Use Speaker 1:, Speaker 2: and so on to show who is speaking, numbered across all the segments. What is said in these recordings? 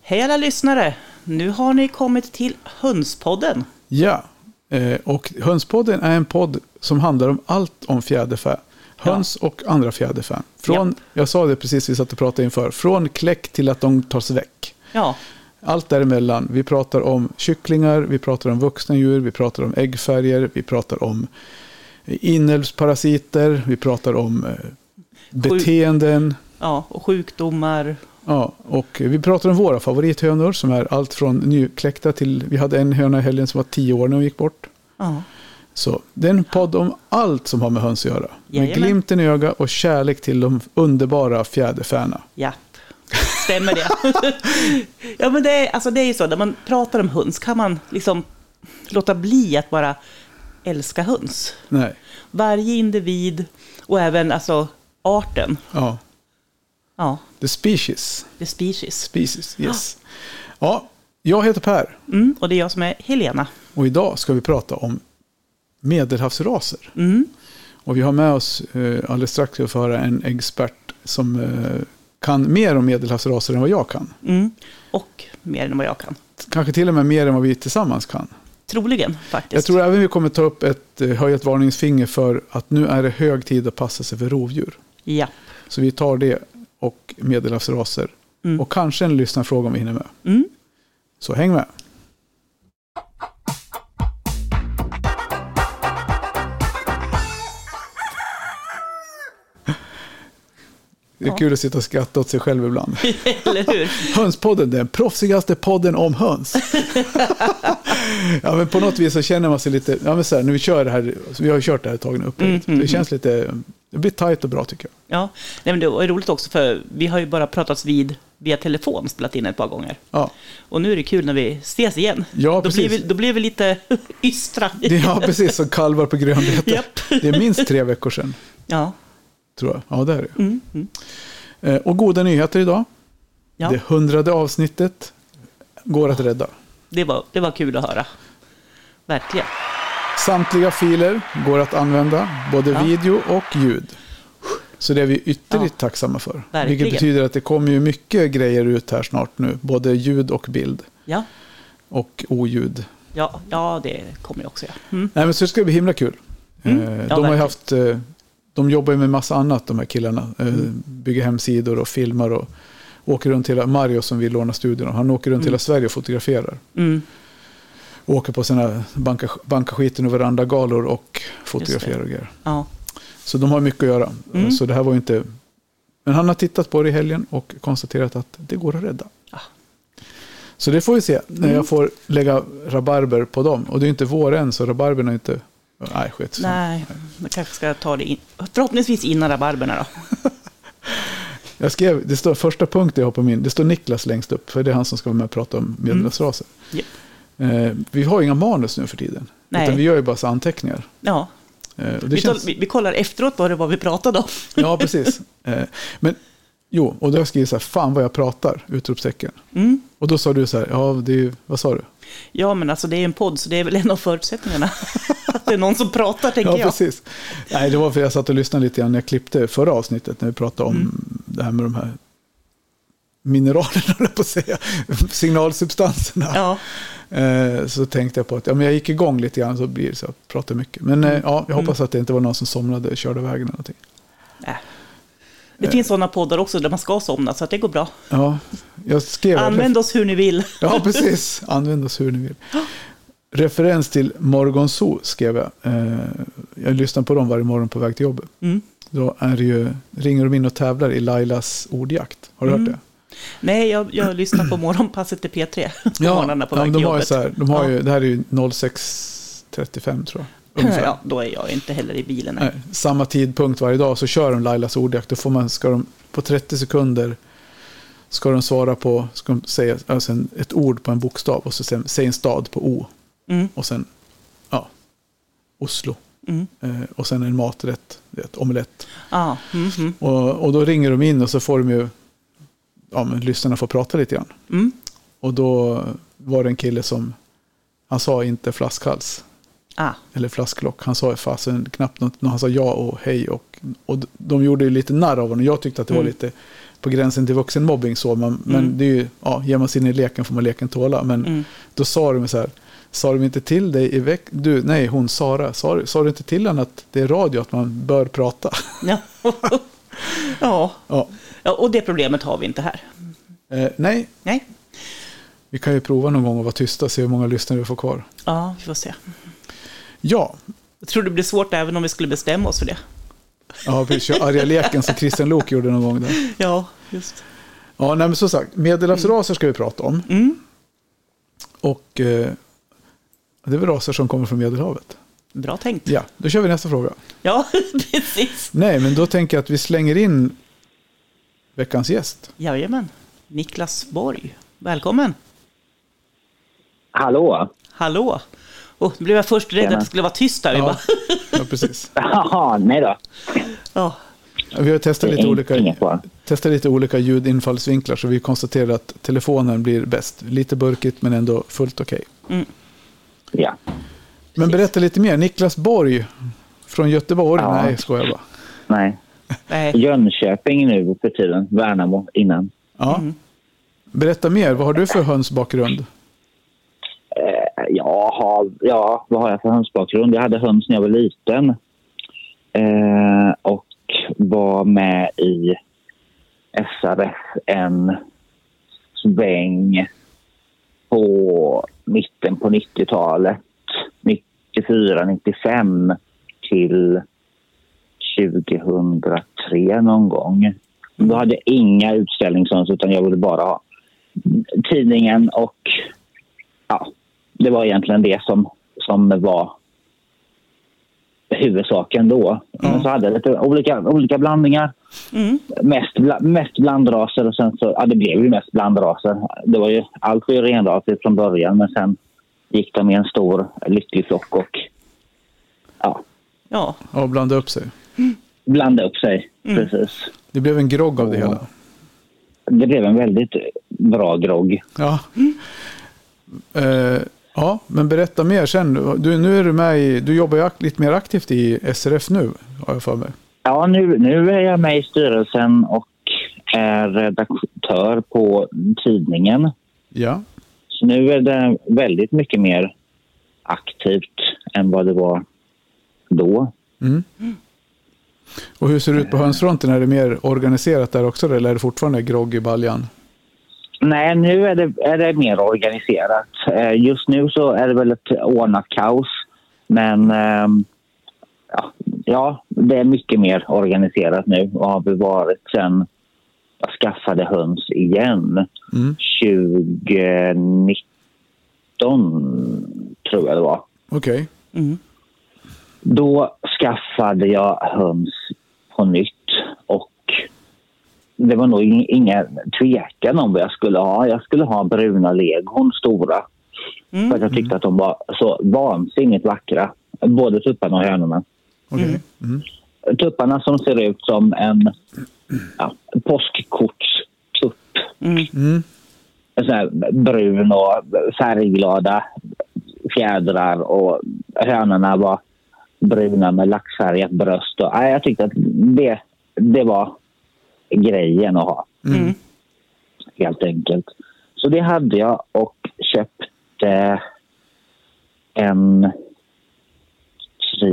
Speaker 1: Hej alla lyssnare! Nu har ni kommit till Hönspodden.
Speaker 2: Ja, eh, och Hönspodden är en podd som handlar om allt om fjäderfä. Höns och andra fjäderfä. Från, Jag sa det precis, vi satt och pratade inför. Från kläck till att de tas väck.
Speaker 1: Ja,
Speaker 2: Allt däremellan. Vi pratar om kycklingar, vi pratar om vuxna djur, vi pratar om äggfärger, vi pratar om inälvsparasiter, vi pratar om eh, beteenden.
Speaker 1: ja och sjukdomar.
Speaker 2: Ja, och vi pratar om våra favorithönor som är allt från nykläckta till, vi hade en höna i helgen som var tio år när hon gick bort.
Speaker 1: Ja.
Speaker 2: Så det är en podd om allt som har med höns att göra. Med
Speaker 1: Jajamän.
Speaker 2: glimten i ögat och kärlek till de underbara fjäderfäna.
Speaker 1: Japp, stämmer det? ja, men det är, alltså det är ju så, när man pratar om höns kan man liksom låta bli att bara älska höns.
Speaker 2: Nej,
Speaker 1: Varje individ och även alltså arten.
Speaker 2: ja.
Speaker 1: Ja,
Speaker 2: The species.
Speaker 1: the species.
Speaker 2: Species, yes. Ja, jag heter Per
Speaker 1: Mm, och det är jag som är Helena.
Speaker 2: och idag ska vi prata om medelhavsraser. Och vi har med oss, eh, alldeles strax ska vi få höra en expert som eh, kan mer om medelhavsraser än vad jag kan.
Speaker 1: Mm, och mer än vad jag kan.
Speaker 2: Kanske till och med mer än vad vi tillsammans kan.
Speaker 1: Troligen faktiskt.
Speaker 2: Jag tror även vi kommer ta upp ett eh, höjt varningsfinger för att nu är det hög tid att passa sig för rovdjur.
Speaker 1: Ja.
Speaker 2: Så vi tar det och medelhavsraser.
Speaker 1: Mm.
Speaker 2: Och kanske en lyssnarfråga om vi hinner med.
Speaker 1: Mm.
Speaker 2: Så häng med. Det är kul att sitta och skratta åt sig själv ibland.
Speaker 1: Eller hur?
Speaker 2: Hönspodden, den proffsigaste podden om höns. ja, men på något vis så känner man sig lite, ja, men så här, nu vi kör det här, vi har ju kört det här ett tag nu
Speaker 1: Mm,
Speaker 2: upplägget. det känns lite, det blir tajt och bra tycker jag.
Speaker 1: Ja, Nej, men det var ju roligt också för vi har ju bara pratats vid via telefon spelat in ett par gånger.
Speaker 2: Ja,
Speaker 1: Och nu är det kul när vi ses igen.
Speaker 2: Ja,
Speaker 1: då,
Speaker 2: precis.
Speaker 1: blir vi, då blir vi lite ystra.
Speaker 2: det, ja precis som kalvar på grönbete.
Speaker 1: Japp.
Speaker 2: Det är minst tre veckor sedan,
Speaker 1: Ja,
Speaker 2: tror jag. Ja, det är det.
Speaker 1: Mm,
Speaker 2: Eh, Och goda nyheter idag.
Speaker 1: ja.
Speaker 2: Det
Speaker 1: Det.
Speaker 2: hundrade avsnittet går att rädda.
Speaker 1: var, det var kul att höra. Verkligen.
Speaker 2: Samtliga filer går att använda, både
Speaker 1: Ja.
Speaker 2: video och ljud. Så det är vi ytterligt
Speaker 1: Ja.
Speaker 2: tacksamma för.
Speaker 1: Verkligen.
Speaker 2: Vilket betyder att det kommer ju mycket grejer ut här snart nu, både ljud och bild
Speaker 1: Ja,
Speaker 2: och oljud.
Speaker 1: ja, ja det kommer jag också göra. Mm.
Speaker 2: Nej, men så det ska bli himla kul. Eh, de har ju
Speaker 1: verkligen.
Speaker 2: haft, eh, de jobbar ju med massa annat de här killarna. Eh,
Speaker 1: Mm.
Speaker 2: Bygger hemsidor och filmar och åker runt hela, Mario som vill låna studion, han åker runt hela Sverige och fotograferar.
Speaker 1: Mm.
Speaker 2: Åker på sina banka, banka skiten och verandagalor och fotograferar och grejer.
Speaker 1: Ja.
Speaker 2: Så de har mycket att göra.
Speaker 1: Mm.
Speaker 2: Så det här var ju inte... Men han har tittat på det i helgen och konstaterat att det går att rädda.
Speaker 1: Ja.
Speaker 2: Så det får vi se när
Speaker 1: Mm.
Speaker 2: jag får lägga rabarber på dem. Och det är ju inte vår än, så rabarberna är inte... Nej, skit.
Speaker 1: Nej, man kanske ska ta det in. förhoppningsvis innan rabarberna då.
Speaker 2: Jag skrev, det står första punkten jag har på min, det står Niklas längst upp, för det är han som ska vara med och prata
Speaker 1: Mm.
Speaker 2: om medelhavsrasen.
Speaker 1: Ja.
Speaker 2: Eh, vi har inga manus nu för tiden,
Speaker 1: Nej.
Speaker 2: utan vi gör ju bara så anteckningar.
Speaker 1: Ja.
Speaker 2: Eh, och det
Speaker 1: Vi,
Speaker 2: känns-
Speaker 1: tar, vi, vi kollar efteråt vad det var vi pratade om.
Speaker 2: Ja, precis. Eh, Men jo, och då har jag skrivit så här, fan vad jag pratar, utropstecken.
Speaker 1: Mm.
Speaker 2: Och då sa du så här, ja, det är, ju- vad sa du?
Speaker 1: Ja, men alltså det är en podd, så det är väl en av förutsättningarna. Att det är någon som pratar, tänker
Speaker 2: Ja,
Speaker 1: jag.
Speaker 2: precis. Nej, det var för jag satt och lyssnade lite grann när jag klippte förra avsnittet, när vi pratade om
Speaker 1: Mm.
Speaker 2: det här med de här mineralerna, höll jag på att säga, signalsubstanserna.
Speaker 1: Ja,
Speaker 2: Eh, Så tänkte jag på att ja, men jag gick igång lite grann, så blir det så, jag pratar mycket. Men
Speaker 1: Mm.
Speaker 2: eh, ja, jag hoppas att det inte var någon som somnade och körde vägen eller någonting.
Speaker 1: nej. Äh. Det finns sådana poddar också där man ska somna, så att det går bra.
Speaker 2: Eh. Ja, jag skrev...
Speaker 1: Använd oss hur ni vill.
Speaker 2: Ja, precis. Använd oss hur ni vill. Referens till Morgonzoo skrev jag. Eh, Jag lyssnar på dem varje morgon på väg till jobbet.
Speaker 1: Mm.
Speaker 2: Då är det ju, ringer de in och tävlar i Lailas ordjakt. Har du hört det?
Speaker 1: Nej, jag, jag lyssnar på morgonpasset till P3 på morgnarna på
Speaker 2: ja,
Speaker 1: väg till
Speaker 2: men de har ju
Speaker 1: jobbet.
Speaker 2: så här, de har
Speaker 1: Ja.
Speaker 2: ju, det här är ju 06.35 tror jag. Ungefär.
Speaker 1: Ja, då är jag inte heller i bilen. Nej.
Speaker 2: Nej, samma tidpunkt varje dag så kör de Lailas ordjakt. Då får man, ska de på 30 sekunder ska de svara på, ska de säga alltså en, ett ord på en bokstav och så sen, säg en stad på O.
Speaker 1: Mm.
Speaker 2: Och sen, ja, Oslo.
Speaker 1: Mm.
Speaker 2: Eh, och sen en maträtt, ett omelett.
Speaker 1: Ja, mm, mm,
Speaker 2: Och, och då ringer de in och så får de ju, ja men lyssnarna får prata lite grann.
Speaker 1: mm.
Speaker 2: Och då var det en kille som, han sa inte flaskhals
Speaker 1: Ah,
Speaker 2: eller flasklock. Han sa ju fasen knappt något. Han sa ja och hej och, och de gjorde ju lite narr av honom. Jag tyckte att det var
Speaker 1: Mm.
Speaker 2: lite på gränsen till vuxenmobbing. Så man, Men det är ju, ja, ger man sig in i leken får man leken tåla. Men då sa de så här, sa de inte till dig i veck... Du, nej, hon Sara, sa, du- sa du inte till henne att det är radio, att man bör prata?
Speaker 1: Ja. ja.
Speaker 2: ja.
Speaker 1: ja, och det problemet har vi inte här.
Speaker 2: eh, nej,
Speaker 1: Nej.
Speaker 2: vi kan ju prova någon gång att vara tysta och se hur många lyssnare vi får kvar.
Speaker 1: Ja, vi får se.
Speaker 2: Ja,
Speaker 1: Jag tror det blir svårt även om vi skulle bestämma oss för det.
Speaker 2: ja vi kör arga leken som Christian Lok gjorde någon gång. Där.
Speaker 1: Ja, just.
Speaker 2: Ja, nej, men som sagt, medelhavsraser ska vi prata om.
Speaker 1: Mm.
Speaker 2: Och eh, det är väl raser som kommer från Medelhavet.
Speaker 1: Bra tänkt.
Speaker 2: Ja, då kör vi nästa fråga.
Speaker 1: Ja, precis.
Speaker 2: Nej, men då tänker jag att vi slänger in veckans gäst.
Speaker 1: Jajamän. Niklas Borg, välkommen.
Speaker 3: Hallå?
Speaker 1: Hallå. Oh, nu blev jag först rädd
Speaker 3: Tjena.
Speaker 1: att det skulle vara tyst där. Vi
Speaker 2: Ja,
Speaker 1: bara,
Speaker 2: ja precis.
Speaker 3: Jaha, nej då.
Speaker 1: ja.
Speaker 2: Vi har testat
Speaker 3: Det är
Speaker 2: lite,
Speaker 3: in-
Speaker 2: olika,
Speaker 3: inget bra.
Speaker 2: testat lite olika ljudinfallsvinklar så vi konstaterar att telefonen blir bäst. Lite burkigt men ändå fullt okej.
Speaker 3: Ja.
Speaker 2: Men berätta lite mer. Niklas Borg från Göteborg.
Speaker 3: Ja.
Speaker 2: Nej, skojar bara.
Speaker 3: Nej.
Speaker 1: Nej.
Speaker 3: Jönköping nu för tiden. Värnamo innan.
Speaker 2: Ja. Mm. Berätta mer. Vad har du för hönsbakgrund?
Speaker 3: Eh, Jag har, ja, vad har jag för hönsbakgrund? Jag hade höns när jag var liten. Eh, och var med i SRF en sväng på mitten på 90-talet. 94, 95 till 2003 någon gång. Då hade jag inga utställningshöns utan jag ville bara ha tidningen och ja, det var egentligen det som, som var huvudsaken då. Men så hade jag lite olika, olika blandningar.
Speaker 1: Mm.
Speaker 3: Mest, bla, mest blandraser och sen så, ja det blev ju mest blandraser. Det var ju, allt var ju renrasigt från början men sen gick de i en stor lycklig flock och ja,
Speaker 1: Ja.
Speaker 2: Ja, blanda upp sig.
Speaker 3: blandade upp sig. Precis.
Speaker 2: Det blev en grogg av det hela.
Speaker 3: Det blev en väldigt bra grogg.
Speaker 2: Ja. Eh, ja, men berätta mer sen. Du, nu är du med i, du jobbar ju ak- lite mer aktivt i SRF nu, har jag för mig.
Speaker 3: Ja, nu, nu är jag med i styrelsen och är redaktör på tidningen.
Speaker 2: Ja,
Speaker 3: Så nu är det väldigt mycket mer aktivt än vad det var då.
Speaker 2: och hur ser det ut på hönsfronten? Är det mer organiserat där också eller är det fortfarande grogg i baljan?
Speaker 3: Nej, nu är det, är det mer organiserat. Eh, Just nu så är det väl ett ordnat kaos. Men ehm, ja, ja, det är mycket mer organiserat nu och har vi varit sen jag skaffade höns igen.
Speaker 2: Mm.
Speaker 3: 2019 tror jag det var.
Speaker 2: Okej,
Speaker 1: Mm.
Speaker 3: Då skaffade jag höns på nytt och det var nog ing- inga tvekan om vad jag skulle ha. Jag skulle ha bruna leghorn, stora.
Speaker 1: Mm.
Speaker 3: För att jag tyckte att de var så vansinnigt vackra. Både tupparna och hönorna.
Speaker 2: okej.
Speaker 3: Tupparna som ser ut som en ja, påskkortstupp.
Speaker 1: Mm.
Speaker 2: Mm.
Speaker 3: En sån här brun och färgglada fjädrar och hönorna var bruna med laxfärgat bröst. Och, nej, jag tyckte att det, det var grejen att ha,
Speaker 1: Mm.
Speaker 3: helt enkelt. Så det hade jag och köpte en,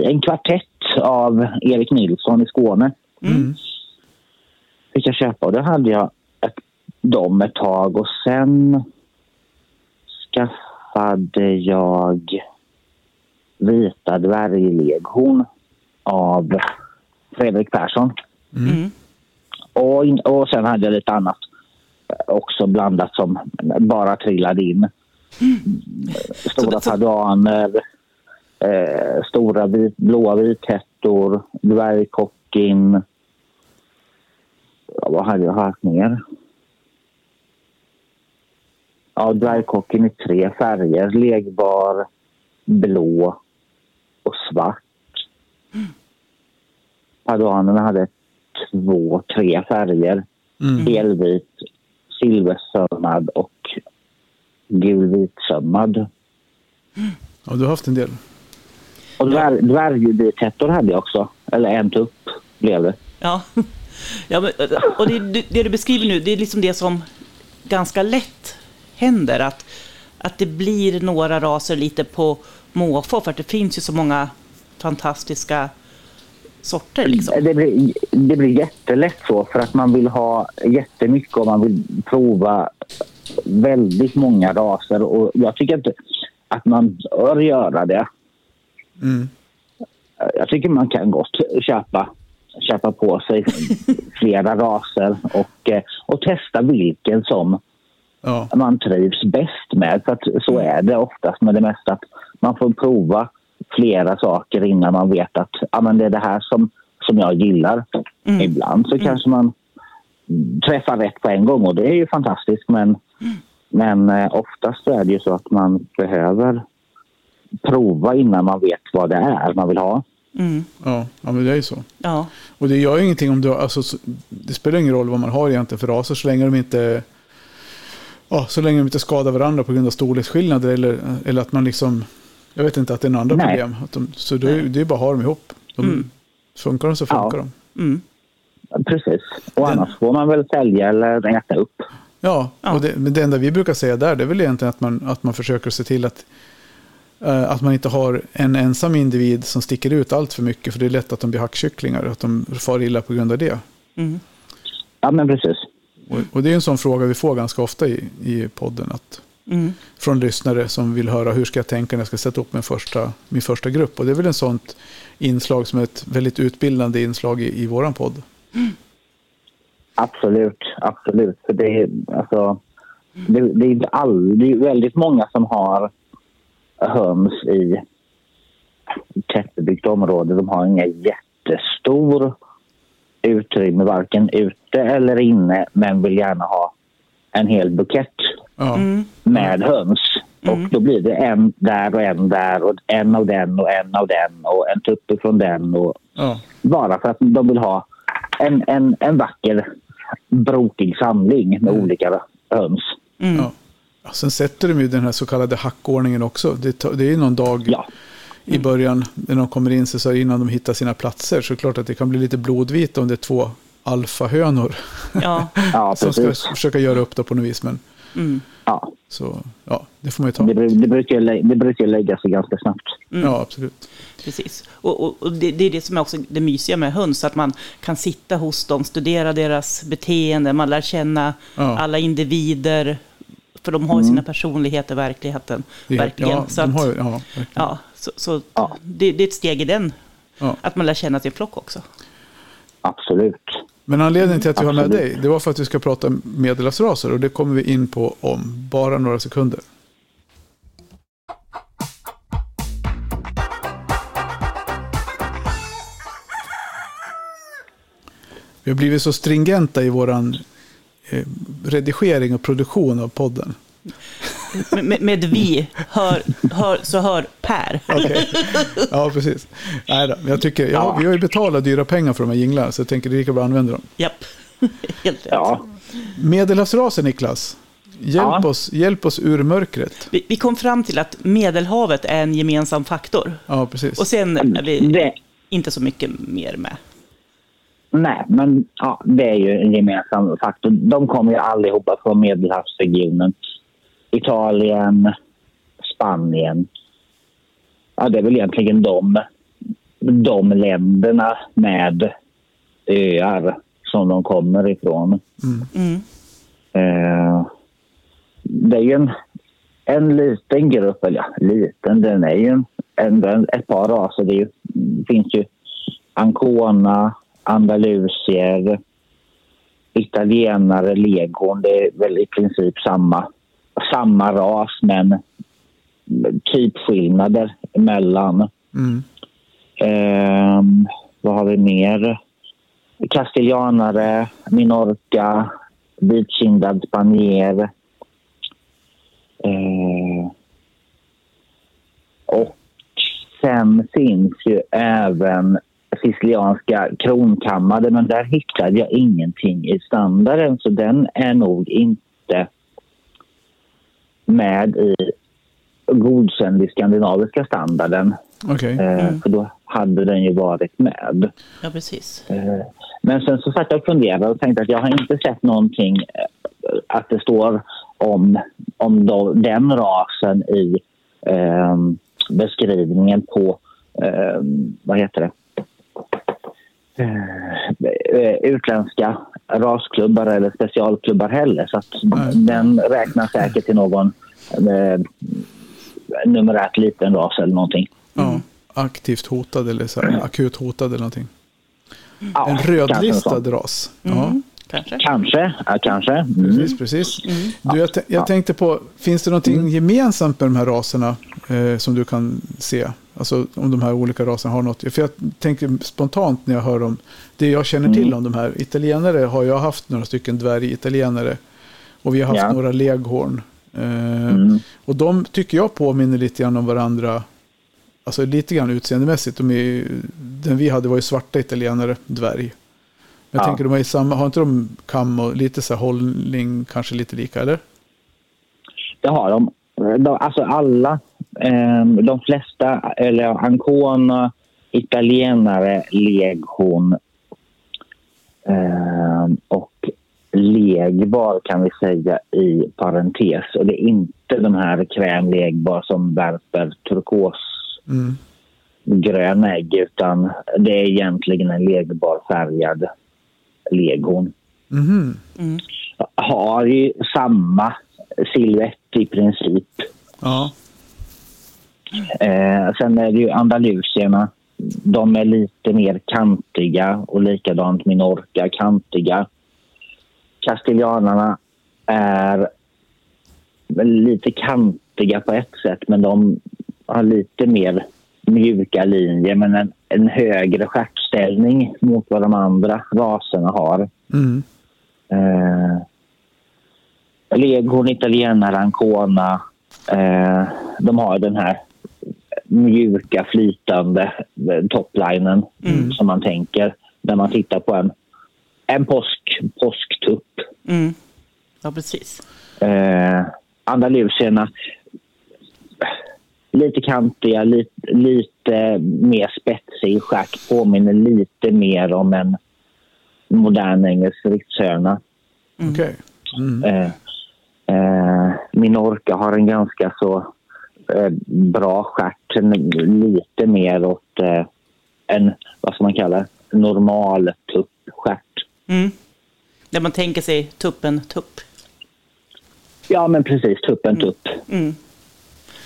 Speaker 3: en kvartett av Erik Nilsson i Skåne
Speaker 2: Mm.
Speaker 3: fick jag köpa och då hade jag ett, dem ett tag och sen skaffade jag vita dvärgleghorn av Fredrik Persson.
Speaker 1: Mm.
Speaker 3: Och, in, och sen hade jag lite annat eh, också blandat som bara trillade in. Stora
Speaker 1: Mm. Så- så-
Speaker 3: padaner, eh, stora vit, blåa vithettor, dvärgkockin. Ja, vad hade jag haft mer? Ja, dvärgkocken i tre färger. Legbar, blå och svart. Padanerna hade två, tre färger.
Speaker 2: Mm.
Speaker 3: Helvit, silversömmad och gulvitsömmad.
Speaker 2: Ja, du har haft en del.
Speaker 3: Och dvärg, dvärgvitettor hade jag också. Eller en tupp blev det.
Speaker 1: Ja. Ja, men, och det, det du beskriver nu, det är liksom det som ganska lätt händer. Att, att det blir några raser lite på måfå, för att det finns ju så många fantastiska sorter. Liksom.
Speaker 3: Det blir, det blir jättelätt så för att man vill ha jättemycket och man vill prova väldigt många raser och jag tycker inte att man bör göra det.
Speaker 2: Mm.
Speaker 3: Jag tycker man kan gott köpa, köpa på sig flera raser och, eh, och testa vilken som
Speaker 2: Ja.
Speaker 3: man trivs bäst med. För att så
Speaker 1: Mm.
Speaker 3: är det oftast med det mesta. Att man får prova flera saker innan man vet att ah, men det är det här som, som jag gillar.
Speaker 1: Mm.
Speaker 3: Ibland så kanske man träffar rätt på en gång och det är ju fantastiskt. Men,
Speaker 1: Mm.
Speaker 3: men eh, oftast så är det ju så att man behöver prova innan man vet vad det är man vill ha.
Speaker 1: Mm,
Speaker 2: Ja. ja, men det är ju så.
Speaker 1: ja.
Speaker 2: Och det gör ju ingenting om du, alltså, så- det spelar ingen roll vad man har egentligen för raser så länge de inte ja, så länge de inte skadar varandra på grund av storleksskillnader eller, eller att man liksom, jag vet inte att det är några andra
Speaker 3: Nej. Mm.
Speaker 2: problem. Att de, så det är, det är bara att ha dem ihop. De, Funkar de så funkar
Speaker 3: Ja.
Speaker 2: de.
Speaker 1: Mm,
Speaker 3: Precis. Och
Speaker 2: Den-
Speaker 3: annars får man väl sälja eller äta upp.
Speaker 2: Ja,
Speaker 1: Ja.
Speaker 2: och det, men det enda vi brukar säga där det är väl egentligen att man, att man försöker se till att, eh, att man inte har en ensam individ som sticker ut allt för mycket för det är lätt att de blir hackkycklingar, att de far illa på grund av det.
Speaker 1: mm,
Speaker 3: Ja, men precis.
Speaker 2: Och, och det är en sån fråga vi får ganska ofta i, i podden. Att,
Speaker 1: mm,
Speaker 2: från lyssnare som vill höra hur ska jag tänka när jag ska sätta upp min första, min första grupp. Och det är väl en sånt inslag som är ett väldigt utbildande inslag i, i våran podd.
Speaker 3: Absolut, absolut. För det, är, alltså, det, det, är inte all, det är väldigt många som har höns i tättbebyggt område. De har inga jättestor utrymme, varken ute eller inne, men vill gärna ha en hel bukett
Speaker 2: Ja,
Speaker 1: mm,
Speaker 3: med höns. Och då blir det en där och en där och en av den och en av den och en tupp från den och
Speaker 2: ja,
Speaker 3: bara för att de vill ha en, en, en vacker brokig samling med olika höns.
Speaker 1: mm,
Speaker 2: ja. Ja, Sen sätter de ju den här så kallade hackordningen också. Det, ta- det är ju någon dag
Speaker 3: Ja,
Speaker 2: i början när de kommer in sig så här innan de hittar sina platser. Så är det klart att det kan bli lite blodvita om det är två alfahönor
Speaker 1: ja,
Speaker 3: ja
Speaker 2: som ska
Speaker 3: precis.
Speaker 2: försöka göra upp det på något vis. Men
Speaker 1: mm,
Speaker 3: Ja,
Speaker 2: så, ja, det får man ju ta.
Speaker 3: det, bru- det, brukar, ju lä- det brukar ju lägga sig ganska snabbt.
Speaker 1: Mm.
Speaker 2: Ja, absolut.
Speaker 1: precis. Och, och, och det, det är det som är också det mysiga med höns, att man kan sitta hos dem, studera deras beteende, man lär känna
Speaker 2: Ja. Mm.
Speaker 1: alla individer, för de har ju sina personligheter, verkligheten.
Speaker 2: Det är-
Speaker 1: verkligen.
Speaker 2: Ja,
Speaker 1: så
Speaker 2: de
Speaker 1: att,
Speaker 2: har ju, ja, verkligen.
Speaker 1: ja, så, så
Speaker 3: Ja.
Speaker 1: Det, det är ett steg i den,
Speaker 2: Ja.
Speaker 1: att man lär känna sin flock också.
Speaker 3: Absolut.
Speaker 2: Men anledningen till att vi har med
Speaker 3: Absolut.
Speaker 2: dig, det var för att vi ska prata medelhavsraser och det kommer vi in på om bara några sekunder. Vi har blivit så stringenta i våran eh, redigering och produktion av podden.
Speaker 1: Med, med, med vi, hör, hör, så hör Per.
Speaker 2: Okej. Ja, precis. Nej då, men jag tycker, ja, vi har ju betalat dyra pengar för de här jinglarna, så jag tänker det är lika bra att använda dem.
Speaker 1: Japp, helt rätt.
Speaker 3: Ja,
Speaker 2: Medelhavsrasen, Niklas. Hjälp,
Speaker 3: Ja.
Speaker 2: oss, hjälp oss ur mörkret.
Speaker 1: Vi, vi kom fram till att Medelhavet är en gemensam faktor.
Speaker 2: Ja, precis.
Speaker 1: Och sen är vi
Speaker 3: det,
Speaker 1: inte så mycket mer med.
Speaker 3: nej, men ja, det är ju en gemensam faktor. De kommer ju allihopa från Medelhavsregionen. Italien, Spanien. Ja, det är väl egentligen de, de länderna med öar som de kommer ifrån.
Speaker 1: Mm.
Speaker 3: Eh, det är ju en, en liten grupp, eller ja, liten, den är ju en, en, en, ett par raser. Det är ju, finns ju ancona, andalusier, italienare, legon. Det är väl i princip samma, samma ras men typskillnader emellan.
Speaker 2: Mm.
Speaker 3: Ehm, vad har vi mer? Castellanare, Minorca, vitkindad spanier. Ehm, och sen finns ju även sicilianska kronkammade men där hittade jag ingenting i standarden så den är nog inte med i godkänd i skandinaviska standarden.
Speaker 2: Okej.
Speaker 3: Eh, För då hade den ju varit med.
Speaker 1: Ja, precis.
Speaker 3: Eh, Men sen så satt jag och funderade och tänkte att jag har inte sett någonting eh, att det står om, om då, den rasen i ehm, beskrivningen på, ehm, vad heter det, Eh, eh, utländska rasklubbar eller specialklubbar heller. Så att
Speaker 2: Nej.
Speaker 3: den räknas säkert till någon eh, numerärt liten ras eller någonting.
Speaker 2: Ja, aktivt hotad eller så här, akut hotad eller någonting.
Speaker 3: Ja,
Speaker 2: En
Speaker 3: kanske Mm. något sånt.
Speaker 2: rödlistad ras. Ja,
Speaker 1: Kanske.
Speaker 3: Kanske, ja, kanske. Mm.
Speaker 2: precis, precis. Du, jag, tän- jag tänkte på, finns det någonting gemensamt med de här raserna eh, som du kan se? Alltså om de här olika raserna har något. För jag tänker spontant när jag hör om det jag känner
Speaker 3: Mm.
Speaker 2: till om de här. Italienare har jag haft några stycken dvärgitalienare. Och vi har haft
Speaker 3: Ja. Mm.
Speaker 2: några leghorn. Eh, Och de tycker jag påminner lite grann om varandra. Alltså lite grann utseendemässigt. De är, ju- den vi hade var ju svarta italienare, dvärg. Men jag
Speaker 3: Ja.
Speaker 2: tänker, de har, ju samma, har inte de kam och lite så här hållning, kanske lite lika, eller?
Speaker 3: Det har de. de alltså alla, eh, de flesta, eller Ancona, italienare, leghorn eh, och legbar kan vi säga i parentes. Och det är inte de här krämlegbar som värper turkosgröna
Speaker 2: Mm.
Speaker 3: ägg utan det är egentligen en legbar färgad leghorn.
Speaker 2: Mhm.
Speaker 3: Har ju samma silhuett i princip.
Speaker 2: Ja.
Speaker 3: Eh, sen är det ju andalusierna. De är lite mer kantiga och likadant Minorca, kantiga. Kastilianarna är väl lite kantiga på ett sätt men de har lite mer mjuka linjer men en, en högre stjärtställning mot vad de andra raserna har.
Speaker 2: Mm.
Speaker 3: Eh, Leghorn, italienare, ancona. Eh, de har den här mjuka, flytande eh, toplinen som man tänker när man tittar på en, en påsk, påsktupp.
Speaker 1: Mm. Ja, precis.
Speaker 3: Eh, Andalusierna, lite kantiga, lite, lite mer spetsig i schack. Påminner lite mer om en modern engelsk rikshörna.
Speaker 2: Okej. Mm.
Speaker 3: Eh, eh, Minorca har en ganska så eh, bra stjärt. en- Lite mer åt eh, en, vad ska man kalla det, normal tuppstjärt.
Speaker 1: Mm. Där man tänker sig tuppen tupp.
Speaker 3: Ja, men precis. Tuppen tupp.
Speaker 1: Mm.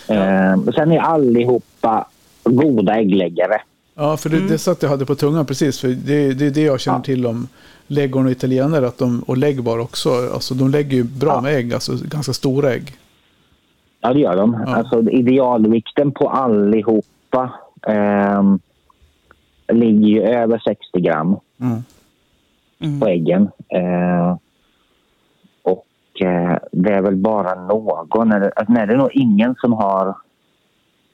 Speaker 3: Eh, sen är allihopa goda äggläggare.
Speaker 2: Ja, för det, det satt jag hade på tungan precis. För det, det är det jag känner
Speaker 3: Ja.
Speaker 2: till om läggorn och italienare. Att de, och läggbar också. Alltså de lägger ju bra med ägg. Alltså ganska stora ägg.
Speaker 3: Ja, det gör de.
Speaker 2: Ja.
Speaker 3: Alltså, idealvikten på allihopa ehm, ligger ju över 60 gram.
Speaker 2: Mm.
Speaker 1: Mm.
Speaker 3: på äggen. Eh, och eh, det är väl bara någon, eller alltså, nej, det är nog ingen som har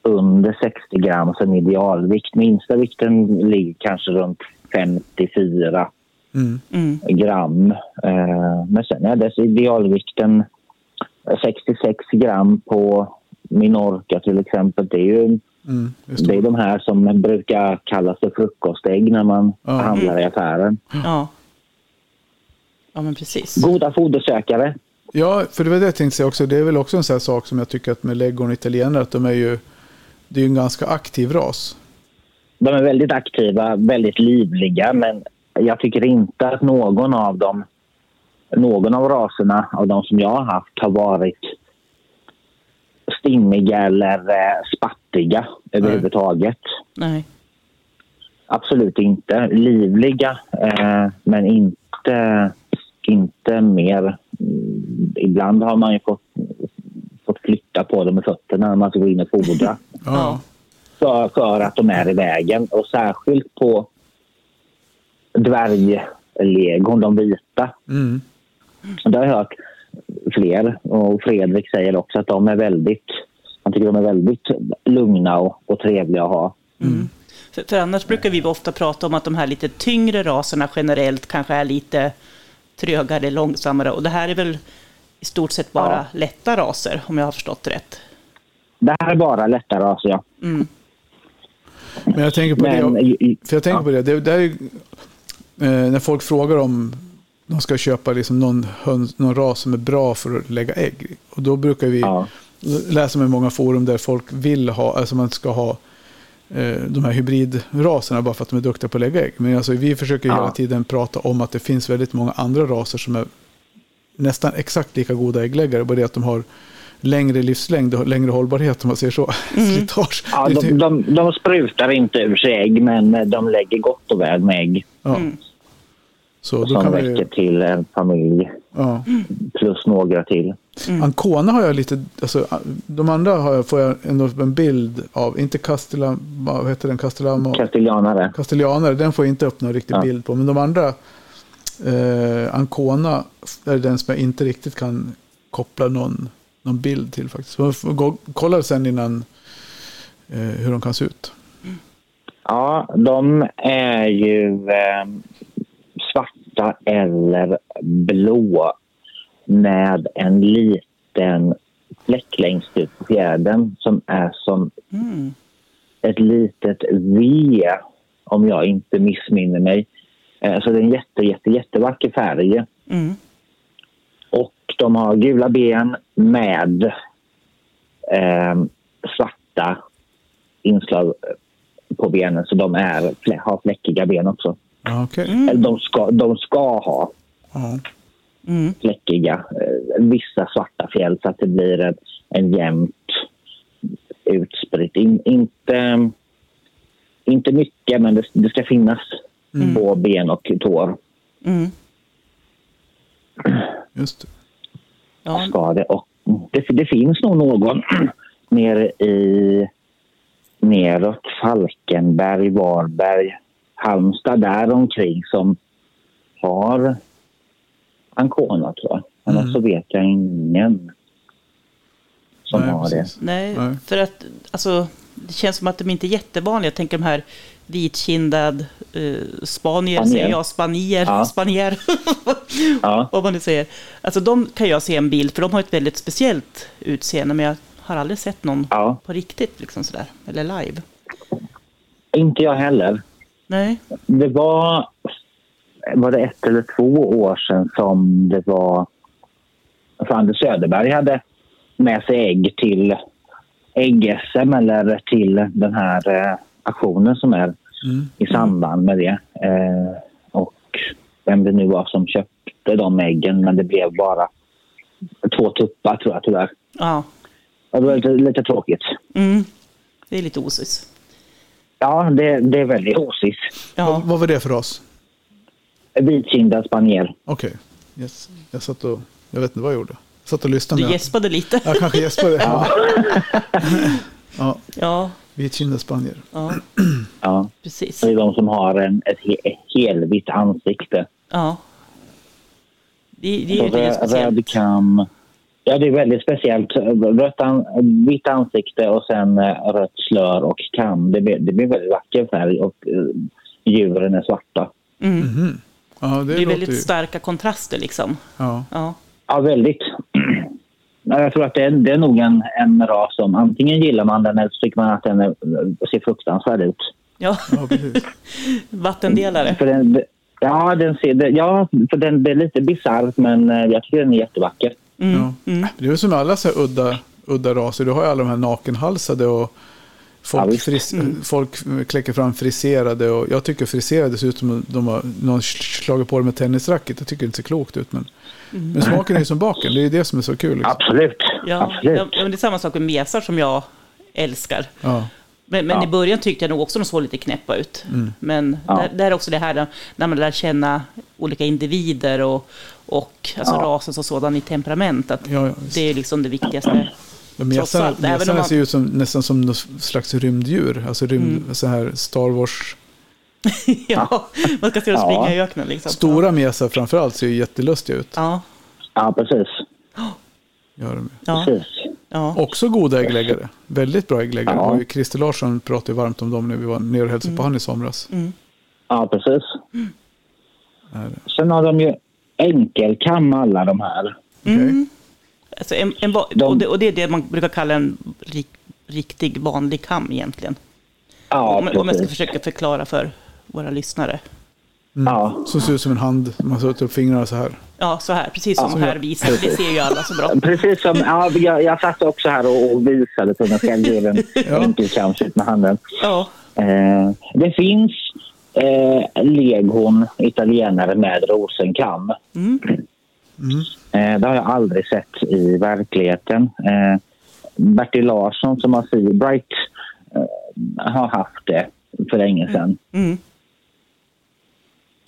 Speaker 3: under 60 gram som idealvikt. Minsta vikten ligger kanske runt 54
Speaker 2: Mm.
Speaker 1: Mm.
Speaker 3: gram. Eh, men sen är dess idealvikten 66 gram på Minorca till exempel. Det är ju
Speaker 2: Mm. Just
Speaker 3: det är
Speaker 2: det.
Speaker 3: de här som brukar kallas för frukostägg när man
Speaker 2: Ja.
Speaker 3: handlar i affären.
Speaker 1: Ja. Ja, men precis.
Speaker 3: Goda fodersökare.
Speaker 2: Ja, för det var det jag tänkte säga också. Det är väl också en sån här sak som jag tycker att med läggorn och italienare. Att de är ju, det är ju en ganska aktiv ras.
Speaker 3: De är väldigt aktiva, väldigt livliga, men jag tycker inte att någon av dem, någon av raserna av de som jag har haft har varit stimmiga eller eh, spattiga överhuvudtaget.
Speaker 1: Nej.
Speaker 3: Absolut inte. Livliga, eh, men inte, inte mer. Mm, Ibland har man ju fått, fått flytta på dem med fötterna när man ska gå in och fodra
Speaker 2: Oh.
Speaker 1: Ja.
Speaker 3: för, för att de är i vägen. Och särskilt på dvärglegon, de vita.
Speaker 2: Mm.
Speaker 3: Det har jag hört fler, och Fredrik säger också att de är väldigt, han tycker de är väldigt lugna och, och trevliga att ha.
Speaker 1: För, för annars brukar vi ofta prata om att de här lite tyngre raserna generellt kanske är lite trögare, långsammare. Och det här är väl i stort sett bara lätta raser, om jag har förstått rätt.
Speaker 3: Det här är bara lättare alltså. Ja.
Speaker 2: Men jag tänker på det.
Speaker 3: Men,
Speaker 2: För jag tänker på det, det, det är ju, eh, när folk frågar om de ska köpa liksom någon, höns, någon ras som är bra för att lägga ägg. i. Och då brukar vi
Speaker 3: Ja.
Speaker 2: läsa med många forum där folk vill ha, alltså man ska ha eh, de här hybridraserna bara för att de är duktiga på att lägga ägg. Men alltså, vi försöker
Speaker 3: Ja.
Speaker 2: hela tiden prata om att det finns väldigt många andra raser som är nästan exakt lika goda äggläggare, bara det att de har längre livslängd och längre hållbarhet om man säger så. Slitage.
Speaker 3: Mm. Ja,
Speaker 2: Det är
Speaker 3: de,
Speaker 2: typ-
Speaker 3: de, de sprutar inte ur sig ägg, men eh, de lägger gott och väl med ägg
Speaker 2: ja. Så då
Speaker 3: som
Speaker 2: kan vi,
Speaker 3: räcker till en familj
Speaker 2: ja.
Speaker 3: plus några till.
Speaker 2: Ancona har jag lite, alltså, de andra har jag, får jag ändå en bild av, inte Castellam, vad heter den, Castellamo?
Speaker 3: Castellanare.
Speaker 2: Castellanare, den får jag inte upp någon riktig
Speaker 3: Ja.
Speaker 2: bild på. Men de andra, eh, Ancona, är den som jag inte riktigt kan koppla någon, någon bild till faktiskt. Man får gå, kolla sen innan eh, hur de kan se ut.
Speaker 3: Ja, de är ju eh, svarta eller blå med en liten fläck längst ut på fjädern som är som
Speaker 1: Mm.
Speaker 3: ett litet V, om jag inte missminner mig. Eh, så det är en jätte, jätte, jättevacker färg.
Speaker 1: Mm.
Speaker 3: Och de har gula ben med eh, svarta inslag på benen. Så de är, flä- har fläckiga ben också.
Speaker 2: Ja, okej.
Speaker 3: Eller de ska, de ska ha
Speaker 2: Ja.
Speaker 1: Mm.
Speaker 3: fläckiga, eh, vissa svarta fjäll så att det blir en, en jämnt utspritt. In, inte, inte mycket, men det, det ska finnas på ben och tår.
Speaker 1: Mm.
Speaker 2: Just det.
Speaker 1: Ja.
Speaker 3: ska det. Och det, det finns nog någon nere i neråt Falkenberg, Varberg, Halmstad där omkring som har Ancona tror jag. Annars
Speaker 2: Mm.
Speaker 3: så vet jag ingen som
Speaker 2: Nej,
Speaker 3: har
Speaker 2: precis.
Speaker 1: Nej,
Speaker 2: Nej.
Speaker 1: för att alltså, det känns som att de inte är jättevanliga. Jag tänker de här vitkindad eh, spanier,
Speaker 3: Spanier.
Speaker 1: säger jag, spanier,
Speaker 3: Ja.
Speaker 1: spanier,
Speaker 3: Ja.
Speaker 1: vad man nu säger. Alltså de kan jag se en bild, för de har ett väldigt speciellt utseende, men jag har aldrig sett någon
Speaker 3: Ja.
Speaker 1: på riktigt, liksom sådär, eller live.
Speaker 3: det. Inte jag heller.
Speaker 1: Nej,
Speaker 3: Det var, var det ett eller två år sedan som det var för Anders Söderberg hade med sig ägg till ägg-SM eller till den här eh, aktionen som är
Speaker 2: Mm.
Speaker 3: i samband med det. Eh, och vem det nu var som köpte de äggen men det blev bara två tuppar tror jag tyvärr.
Speaker 1: ja.
Speaker 3: Och det var lite, lite tråkigt.
Speaker 1: Mm. Det är lite osis.
Speaker 3: Ja, det, det är väldigt osigt.
Speaker 1: Ja.
Speaker 2: Vad var det för ras?
Speaker 3: Vitkindad spanjer.
Speaker 2: Okej. Yes. Jag satt och, jag vet inte vad jag gjorde. Jag satt och lyssnade.
Speaker 1: Du
Speaker 2: men jag-
Speaker 1: gäspade lite.
Speaker 2: Jag kanske gäspade. Ja. ja.
Speaker 1: Ja,
Speaker 2: Vitkindade spanier.
Speaker 1: ja
Speaker 3: Ja.
Speaker 1: precis.
Speaker 3: Det är de som har en, ett, he, ett helvitt ansikte.
Speaker 1: Ja. Det, det är
Speaker 3: Så
Speaker 1: ju det är
Speaker 3: rö-
Speaker 1: speciellt.
Speaker 3: röd kam. Ja, det är väldigt speciellt. Rött an, vitt ansikte och sen eh, rött slör och kam. Det blir, det blir väldigt vacker färg och eh, djuren är svarta.
Speaker 2: Ja, det,
Speaker 1: Det är
Speaker 2: låter
Speaker 1: väldigt
Speaker 2: ju-
Speaker 1: starka kontraster liksom.
Speaker 2: Ja.
Speaker 1: Ja.
Speaker 3: Ja, väldigt. Men Jag tror att det är, det är nog en, en ras som antingen gillar man den eller så tycker man att den är, ser fruktansvärd ut.
Speaker 1: Ja,
Speaker 2: ja, precis.
Speaker 1: vattendelare.
Speaker 3: För den, ja, den ser, det- ja, för den, det är lite bisarrt men eh, jag tycker den är jättevacker.
Speaker 1: Mm,
Speaker 2: Ja. Det är väl som med alla så här udda, udda raser. Du har ju alla de här nakenhalsade och
Speaker 3: Ja,
Speaker 2: folk,
Speaker 3: visst.
Speaker 2: fris,
Speaker 1: Mm.
Speaker 2: folk kläcker fram friserade. Och jag tycker friserade ser ut som om de har, någon slagit på dem med tennisracket. Jag tycker det inte ser klokt ut. Men,
Speaker 1: Mm.
Speaker 2: men smaken är ju som baken. Det är ju det som är så kul. Liksom.
Speaker 3: Absolut.
Speaker 1: Ja, ja,
Speaker 3: Absolut.
Speaker 1: ja, men det är samma sak med mesar som jag älskar.
Speaker 2: Ja.
Speaker 1: Men, men
Speaker 3: Ja. Mm.
Speaker 1: i början tyckte jag nog också de såg lite knäppa ut. Men
Speaker 3: Ja.
Speaker 1: där, där är också det här när man lär känna olika individer och, och alltså
Speaker 3: Ja.
Speaker 1: rasen som sådan i temperament. Att
Speaker 2: Ja, ja, visst.
Speaker 1: det är liksom det viktigaste.
Speaker 2: Men
Speaker 1: Trots
Speaker 2: mesarna,
Speaker 1: allt, även om
Speaker 2: mesarna
Speaker 1: man-
Speaker 2: ser ju ut som, nästan som något slags rymddjur. Alltså rymd,
Speaker 1: Mm.
Speaker 2: så här Star Wars.
Speaker 1: ja, man ska se dem springa
Speaker 3: Ja.
Speaker 1: i öknen liksom.
Speaker 2: Stora mesar framförallt ser ju jättelustiga ut.
Speaker 1: Ja,
Speaker 3: Ja, precis.
Speaker 2: Gör de ju.
Speaker 1: ja,
Speaker 3: precis.
Speaker 1: ja.
Speaker 2: Också goda äggläggare. Väldigt bra äggläggare.
Speaker 3: Ja.
Speaker 2: Och Christer Larsson pratade ju varmt om dem när vi var nere och hälsade
Speaker 1: Mm.
Speaker 2: på han i somras.
Speaker 3: Ja, precis.
Speaker 2: Är
Speaker 1: Mm.
Speaker 2: det.
Speaker 3: Sen har de ju enkelkam alla de här.
Speaker 2: Okej.
Speaker 1: Alltså en, en ba-
Speaker 3: De-
Speaker 1: och, det, och det är det man brukar kalla en rik, riktig vanlig kam egentligen.
Speaker 3: Ja,
Speaker 1: om, om jag ska
Speaker 3: precis.
Speaker 1: försöka förklara för våra lyssnare
Speaker 3: Ja,
Speaker 2: Som ser ut som en hand. Man sätter upp fingrarna så här.
Speaker 1: Ja, så här. Precis som
Speaker 2: Ja.
Speaker 1: Per visade. Det ser ju alla så bra.
Speaker 3: precis som... Ja, jag, jag satt också här och, och visade på mig själv hur en
Speaker 2: Ja.
Speaker 3: vinkelkams ut med handen.
Speaker 1: Ja,
Speaker 3: Eh, det finns eh, legon italienare med rosenkam.
Speaker 1: Mm.
Speaker 3: Eh, det har jag aldrig sett i verkligheten. Eh, Bertil Larsson som har Seabright eh, har haft det för länge sedan.
Speaker 1: mm.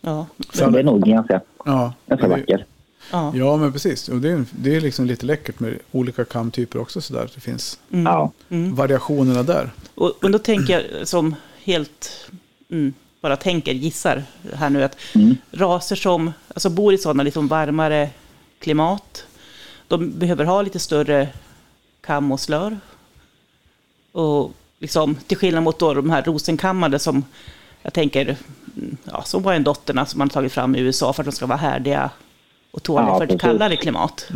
Speaker 1: ja,
Speaker 3: Men det är nog ganska,
Speaker 2: Ja,
Speaker 3: ganska vackert.
Speaker 1: ja.
Speaker 2: ja men precis. Och det, är, det är liksom lite läckert med olika kamtyper också sådär. Det finns
Speaker 3: Ja.
Speaker 1: Mm.
Speaker 2: variationerna där.
Speaker 1: Och, och då tänker jag som helt, mm, bara tänker, gissar här nu att
Speaker 3: Mm.
Speaker 1: raser som alltså bor i sådana liksom varmare klimat, de behöver ha lite större kam och slör. Och liksom, till skillnad mot då de här rosenkammade som jag tänker, mm, ja, som var en dotterna som man tagit fram i USA för att de ska vara härdiga och tåliga
Speaker 3: Ja,
Speaker 1: för ett
Speaker 3: precis.
Speaker 1: kallare klimat.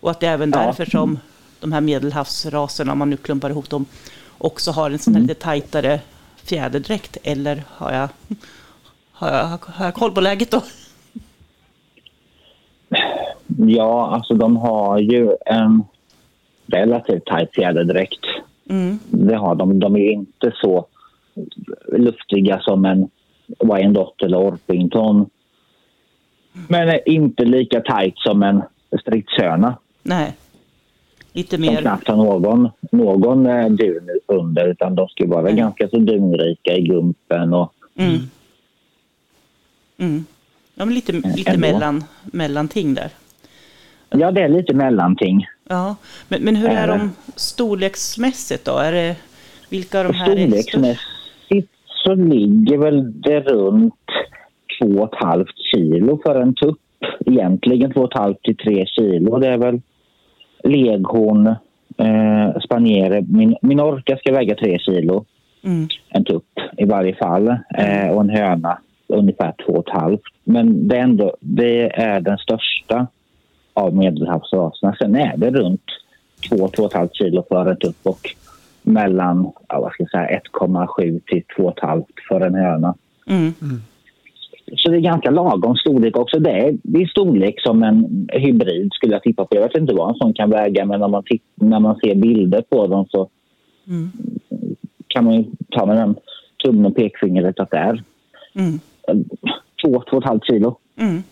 Speaker 1: Och att det är även
Speaker 3: Ja.
Speaker 1: därför som de här medelhavsraserna, om man nu klumpar ihop dem, också har en sån
Speaker 3: Mm.
Speaker 1: här lite tajtare fjäderdräkt. Eller har jag, har jag, har jag koll på läget då?
Speaker 3: ja, alltså de har ju en relativt tajt fjäderdräkt.
Speaker 1: Mm.
Speaker 3: Det har de. De är ju inte så luftiga som en Wyandotte eller Orpington. Men är inte lika tajt som en stridshöna
Speaker 1: Nej. Lite
Speaker 3: som
Speaker 1: mer.
Speaker 3: knappt har någon, någon eh, dun under utan de ska ju vara
Speaker 1: Mm.
Speaker 3: ganska så dunrika i gumpen och
Speaker 1: Mm. Mm. Ja, men lite, lite
Speaker 3: Ändå.
Speaker 1: mellan, mellanting där.
Speaker 3: ja, det är lite mellanting.
Speaker 1: Ja. Men, men hur är
Speaker 3: Äh.
Speaker 1: de storleksmässigt då? Är det, vilka av de
Speaker 3: Och
Speaker 1: här är störst?
Speaker 3: storleksmässigt så ligger väl det runt 2,5 kilo för en tupp. Egentligen 2,5 till 3 kilo. Det är väl leghorn, eh, spaniere. Min, min orka ska väga 3 kilo,
Speaker 1: Mm.
Speaker 3: en tupp i varje fall. Eh, och en höna ungefär 2,5. Men det är, ändå, det är den största av medelhavsraserna. Sen är det runt 2-2,5 kilo för en tupp och mellan ja, vad ska jag säga, 1,7 till 2,5 för en höna.
Speaker 1: Mm.
Speaker 3: Så det är ganska lagom storlek också. Det är, det är storlek som en hybrid skulle jag tippa på. Jag vet inte vad en sån kan väga men när man, titt, när man ser bilder på dem så
Speaker 1: Mm.
Speaker 3: kan man ju ta med den tummen och pekfingret att det är
Speaker 1: Mm.
Speaker 3: 2-2,5 kilo.
Speaker 1: Mm.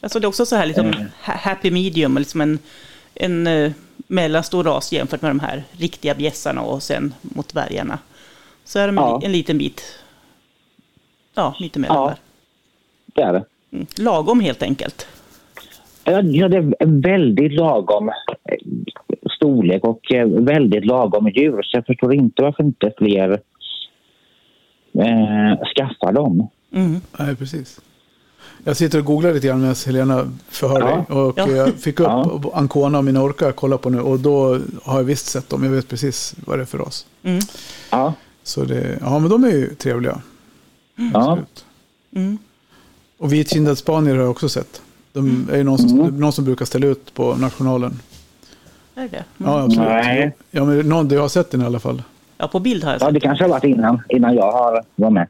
Speaker 1: Alltså det är också så här liksom
Speaker 3: Mm.
Speaker 1: ha- happy medium, liksom en, en eh, mellanstor ras jämfört med de här riktiga bjässarna och sen mot dvärgarna. Så är de en
Speaker 3: Ja.
Speaker 1: li- en liten bit, ja, lite mellan
Speaker 3: Ja.
Speaker 1: där.
Speaker 3: Det är det.
Speaker 1: Mm. Lagom helt enkelt.
Speaker 3: Ja, ja, det är en väldigt lagom eh, storlek och eh, väldigt lagom djur. Så jag förstår inte varför inte fler eh, skaffar dem.
Speaker 1: Mm.
Speaker 2: Nej, precis. Jag sitter och googlar lite grann medan Helena förhör
Speaker 3: Ja.
Speaker 2: dig. Och
Speaker 1: Ja.
Speaker 2: jag fick upp
Speaker 3: Ja.
Speaker 2: Ancona och Minorca att kolla på nu. Och då har jag visst sett dem. Jag vet precis vad det är för oss.
Speaker 1: Mm.
Speaker 3: Ja,
Speaker 2: Så det, ja, men de är ju trevliga.
Speaker 3: ja.
Speaker 2: Absolut.
Speaker 1: Mm.
Speaker 2: Och vitkindad spanier har jag också sett. De är ju någon som,
Speaker 3: Mm.
Speaker 2: någon som brukar ställa ut på nationalen.
Speaker 1: Är det? Mm.
Speaker 2: Ja, absolut.
Speaker 3: Nej.
Speaker 2: Ja, men någon, jag har sett den i alla fall.
Speaker 1: Ja, på bild har jag
Speaker 3: ja,
Speaker 1: sett.
Speaker 3: det kanske har varit innan, innan jag har var med.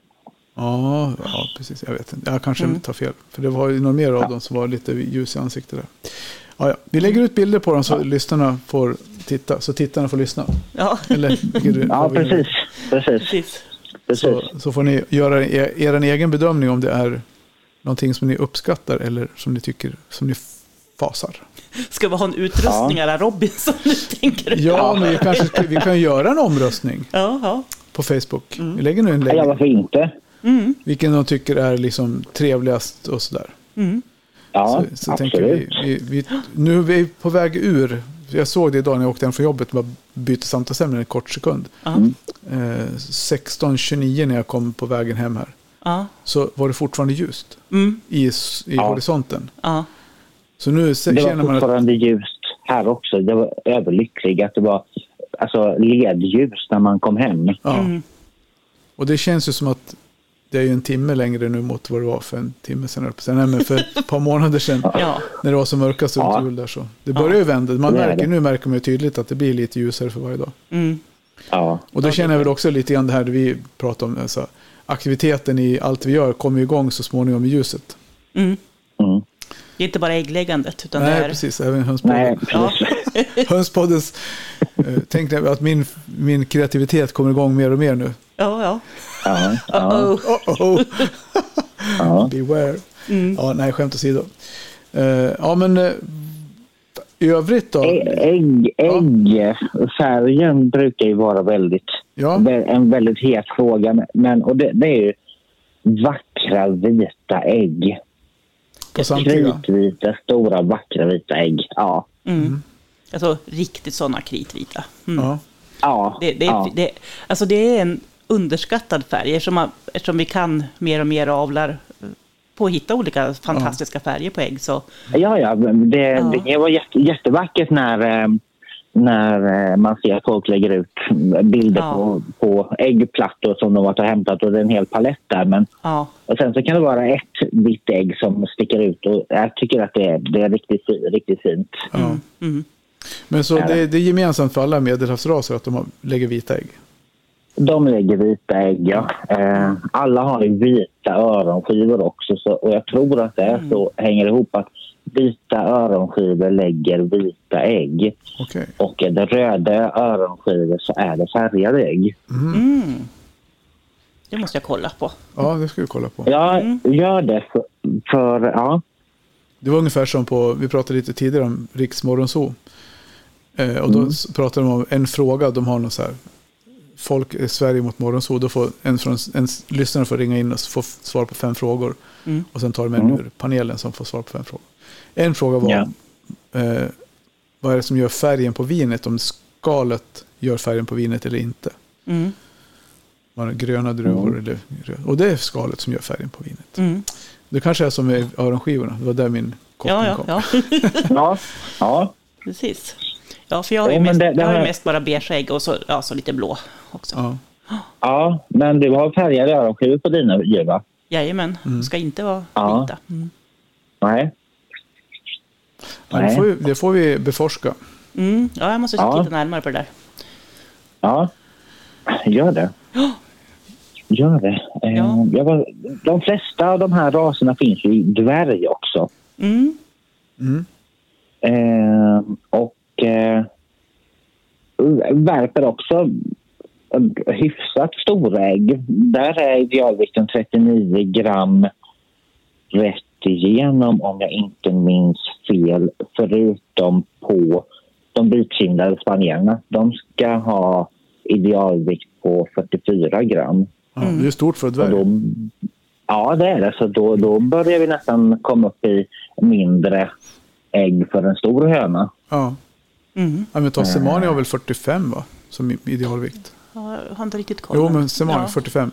Speaker 2: Ja, ja precis. Jag vet inte. Jag kanske tar fel. För det var ju några mer av dem som var lite ljus i ansiktet där. Ja, ja. Vi lägger ut bilder på dem så lyssnarna får titta. Så tittarna får lyssna.
Speaker 1: Ja,
Speaker 2: Eller, vilket du-
Speaker 3: Ja,
Speaker 2: vad vill du?
Speaker 3: precis. Precis.
Speaker 1: precis.
Speaker 3: precis.
Speaker 2: Så, så får ni göra er, er egen bedömning om det är någonting som ni uppskattar eller som ni tycker som ni fasar.
Speaker 1: Ska vi ha en utrustning alla Robinson, nu tänker du?
Speaker 2: Ja, men vi kanske ska, vi kan göra en omröstning
Speaker 1: Ja, ja.
Speaker 2: på Facebook. Vi lägger nu en
Speaker 3: Mm. Ja,
Speaker 2: länk.
Speaker 3: varför inte?
Speaker 2: Vilken de tycker är liksom trevligast och sådär.
Speaker 3: Ja,
Speaker 2: Så, så tänker vi,
Speaker 3: absolut.
Speaker 2: vi, vi, nu är vi på väg ur. Jag såg det idag när jag åkte hem från jobbet. Bara bytte samtalsämne en kort sekund.
Speaker 1: Ja.
Speaker 2: Eh, 16.29 när jag kom på vägen hem här.
Speaker 1: Ja.
Speaker 2: Så var det fortfarande ljust
Speaker 1: Mm.
Speaker 2: i, s- i
Speaker 3: Ja.
Speaker 2: horisonten.
Speaker 1: Ja.
Speaker 2: Så nu se-
Speaker 3: Det
Speaker 2: känner
Speaker 3: var
Speaker 2: man att...
Speaker 3: fortfarande ljust här också. Jag var överlycklig att det var alltså, ledljus när man kom hem.
Speaker 2: Ja.
Speaker 1: Mm.
Speaker 2: Och det känns ju som att det är ju en timme längre nu mot vad det var för en timme sedan. höll jag på att säga. Nej, men för ett par månader sedan.
Speaker 1: Ja.
Speaker 2: När det var som mörkast runt
Speaker 3: Ja.
Speaker 2: jul där så. Det börjar ju vända. Man
Speaker 3: Det är
Speaker 2: märker,
Speaker 3: det.
Speaker 2: nu märker man ju tydligt att det blir lite ljusare för varje dag.
Speaker 1: Mm.
Speaker 3: Ja.
Speaker 2: Och då känner jag väl också lite grann det här vi pratar om. Alltså, aktiviteten i allt vi gör kommer ju igång så småningom i ljuset.
Speaker 1: Mm.
Speaker 3: Mm.
Speaker 1: Det är inte bara äggläggandet, utan det
Speaker 2: Nej,
Speaker 1: är...
Speaker 2: precis. Även hönspodden.
Speaker 3: Nej,
Speaker 1: Ja.
Speaker 3: precis.
Speaker 2: Hönspoddens... Eh, tänk när- att min, min kreativitet kommer igång mer och mer nu.
Speaker 1: Ja, ja.
Speaker 3: Ja, ja,
Speaker 1: Uh-oh.
Speaker 2: Oh, oh,
Speaker 3: ja.
Speaker 2: beware. Ja, nej, skämt åsido. Eh, ja, men eh, i övrigt då?
Speaker 3: Ä- Ägg, äggfärgen brukar ju vara väldigt,
Speaker 2: Ja.
Speaker 3: vä- en väldigt het fråga. Men, och det, det är ju vackra vita ägg.
Speaker 2: På
Speaker 3: Mm.
Speaker 2: samtliga?
Speaker 3: Kritvita, stora vackra vita ägg. Ja.
Speaker 1: Mm. Alltså riktigt sådana kritvita. Mm.
Speaker 2: Ja.
Speaker 3: Ja.
Speaker 1: Det, det,
Speaker 3: ja.
Speaker 1: det, alltså det är en underskattad färg eftersom, man, eftersom vi kan mer och mer avlar eh, på att hitta olika fantastiska färger på ägg. Så,
Speaker 3: Ja, ja. men Det,
Speaker 1: Ja.
Speaker 3: det var jätte, jättevackert när, eh, när eh, man ser att folk lägger ut bilder
Speaker 1: Ja.
Speaker 3: på, på äggplattor som de har hämtat och det är en hel palett där. Men
Speaker 1: ja.
Speaker 3: och sen så kan det vara ett vitt ägg som sticker ut och jag tycker att det är, det är riktigt, fi- riktigt fint.
Speaker 2: ja.
Speaker 1: Mm.
Speaker 2: Men så
Speaker 3: Ja.
Speaker 2: det, det är gemensamt för alla medelhavsraser att de har, lägger vita ägg?
Speaker 3: De lägger vita ägg, ja. Eh, alla har ju vita öronskivor också så, och jag tror att det är så hänger ihop att vita öronskivor lägger vita ägg.
Speaker 2: Okej.
Speaker 3: och är det röda öronskivor så är det färgade ägg.
Speaker 1: Mm. Det måste jag kolla på.
Speaker 2: Ja, det ska vi kolla på.
Speaker 3: Jag gör det för, för ja,
Speaker 2: Det var ungefär som på, vi pratade lite tidigare om Riksmorgonzoo. Eh, och då
Speaker 1: Mm.
Speaker 2: s- pratade de om en fråga, de har någon så här, folk i Sverige mot morgonzoo, då får en, från, en s- lyssnare får ringa in och s- få f- svar på fem frågor.
Speaker 1: Mm.
Speaker 2: Och sen tar de en ur panelen som får svar på fem frågor. En fråga var,
Speaker 3: Mm. Ja.
Speaker 2: eh, vad är det som gör färgen på vinet, om skalet gör färgen på vinet eller inte?
Speaker 1: Mm.
Speaker 2: Man har gröna druvor
Speaker 3: Mm.
Speaker 2: eller röda. Och det är skalet som gör färgen på vinet.
Speaker 1: Mm.
Speaker 2: Det kanske är som med öronskivorna, det var där min koppling
Speaker 1: Ja,
Speaker 2: kom.
Speaker 1: ja, ja.
Speaker 3: ja, ja,
Speaker 1: precis. Ja, för jag har ju
Speaker 3: Jo, men
Speaker 1: mest,
Speaker 3: det- det
Speaker 1: jag har ju
Speaker 3: här-
Speaker 1: mest bara beige ägg och så, ja, så lite blå också.
Speaker 2: Ja.
Speaker 3: ja, men du har färgade öronskivor på dina djur va?
Speaker 1: Jajamän, de ska inte vara
Speaker 3: Mm. Ja.
Speaker 1: vita. Mm.
Speaker 3: Nej.
Speaker 2: Ja, det,
Speaker 3: Nej.
Speaker 2: får vi, det får vi beforska.
Speaker 1: Mm. Ja, jag måste
Speaker 3: Ja.
Speaker 1: titta närmare på det där.
Speaker 3: Ja, gör det.
Speaker 1: Ja.
Speaker 3: Gör det. Eh,
Speaker 1: Ja.
Speaker 3: Jag var, de flesta av de här raserna finns ju i dvärg också.
Speaker 1: Mm.
Speaker 3: Eh, och eh, värper också hyfsat stora ägg. Där är idealvikten 39 gram rätt igenom om jag inte minns fel förutom på de vitkindade spanjorerna. De ska ha idealvikt på 44 gram.
Speaker 2: Ja, Det är stort för ett
Speaker 3: Och
Speaker 2: dvärg.
Speaker 3: då, ja, det är det. Så då, då börjar vi nästan komma upp i mindre ägg för en stor höna.
Speaker 2: Ja.
Speaker 1: Mm.
Speaker 2: Ja, men ta Semani har väl 45 va? Som i- idealvikt.
Speaker 1: Ja, jag har inte riktigt koll.
Speaker 2: Jo, men Semani
Speaker 1: ja.
Speaker 2: 45.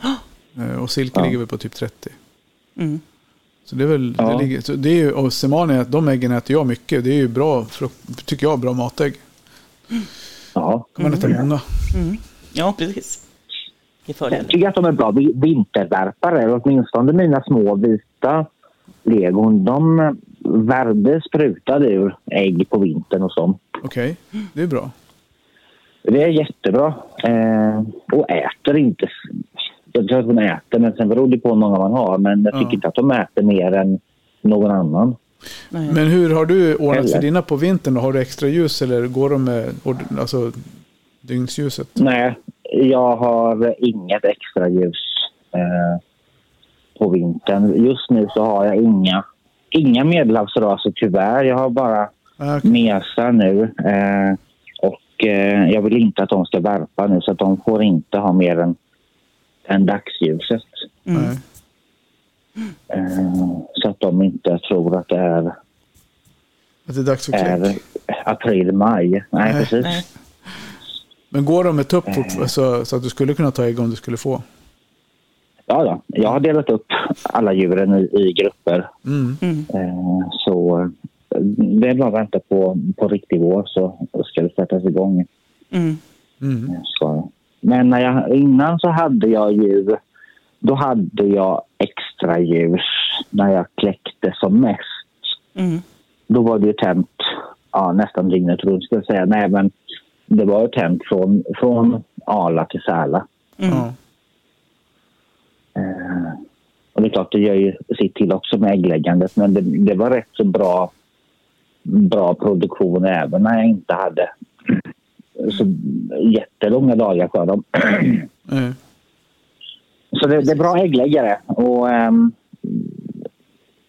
Speaker 2: Eh, Och Silke
Speaker 3: Ja.
Speaker 2: ligger väl på typ 30.
Speaker 1: Mm.
Speaker 2: Så det är väl,
Speaker 3: Ja.
Speaker 2: det ligger, så det är ju, och Semani, de äggen äter jag mycket. Det är ju bra, frukt- tycker jag, bra matägg.
Speaker 3: Ja.
Speaker 2: Kan man äta
Speaker 1: Mm.
Speaker 2: många.
Speaker 1: Ja, precis. Det är
Speaker 3: Jag
Speaker 1: fördelen.
Speaker 3: tycker att de är bra vi- vintervärpare. Åtminstone mina små vita legon. De värde sprutade ur ägg på vintern och så.
Speaker 2: Okej, det är bra.
Speaker 3: Det är jättebra. Eh, och äter inte. Jag tror att de äter, men sen beror det på hur många man har. Men jag tycker
Speaker 2: Ja.
Speaker 3: inte att de äter mer än någon annan.
Speaker 1: Nej.
Speaker 2: Men hur har du ordnat för
Speaker 3: Eller?
Speaker 2: dina på vintern? då? Har du extra ljus eller går de med ord- alltså, dygnsljuset?
Speaker 3: Nej, jag har inget extra ljus eh, på vintern. Just nu så har jag inga, inga medelhavsraser tyvärr. Jag har bara
Speaker 2: Ah, okej.
Speaker 3: mesar nu. Eh, och eh, jag vill inte att de ska värpa nu så att de får inte ha mer än, än dagsljuset.
Speaker 1: Mm.
Speaker 2: Nej.
Speaker 3: Eh, så att de inte tror att det är,
Speaker 2: Att det är dags för
Speaker 3: är
Speaker 2: kläck.
Speaker 3: april, maj. Nej,
Speaker 2: Nej.
Speaker 3: precis.
Speaker 1: Nej.
Speaker 2: Men går de med tupp fortfar- så, så att du skulle kunna ta ägg om du skulle få?
Speaker 3: Ja, ja, jag har delat upp alla djuren i, i grupper.
Speaker 2: Mm.
Speaker 1: Mm.
Speaker 3: Eh, så eh, det är bara att vänta på, på riktig vår så ska det sättas igång.
Speaker 1: Mm.
Speaker 2: Mm.
Speaker 3: Så. Men när jag, innan så hade jag ju... Då hade jag extra ljus när jag kläckte som mest.
Speaker 1: Mm.
Speaker 3: Då var det ju tänt ja, nästan dygnet runt, ska jag säga. Nej, men det var ju tänt från, från Arla till Säla.
Speaker 1: Mm.
Speaker 2: Ja.
Speaker 3: Eh, och det är klart, det gör ju sitt till också med äggläggandet. Men det, det var rätt så bra, bra produktion även när jag inte hade så jättelånga dagar för dem.
Speaker 2: Eh,
Speaker 3: Så det, det är bra äggläggare. Och, ehm,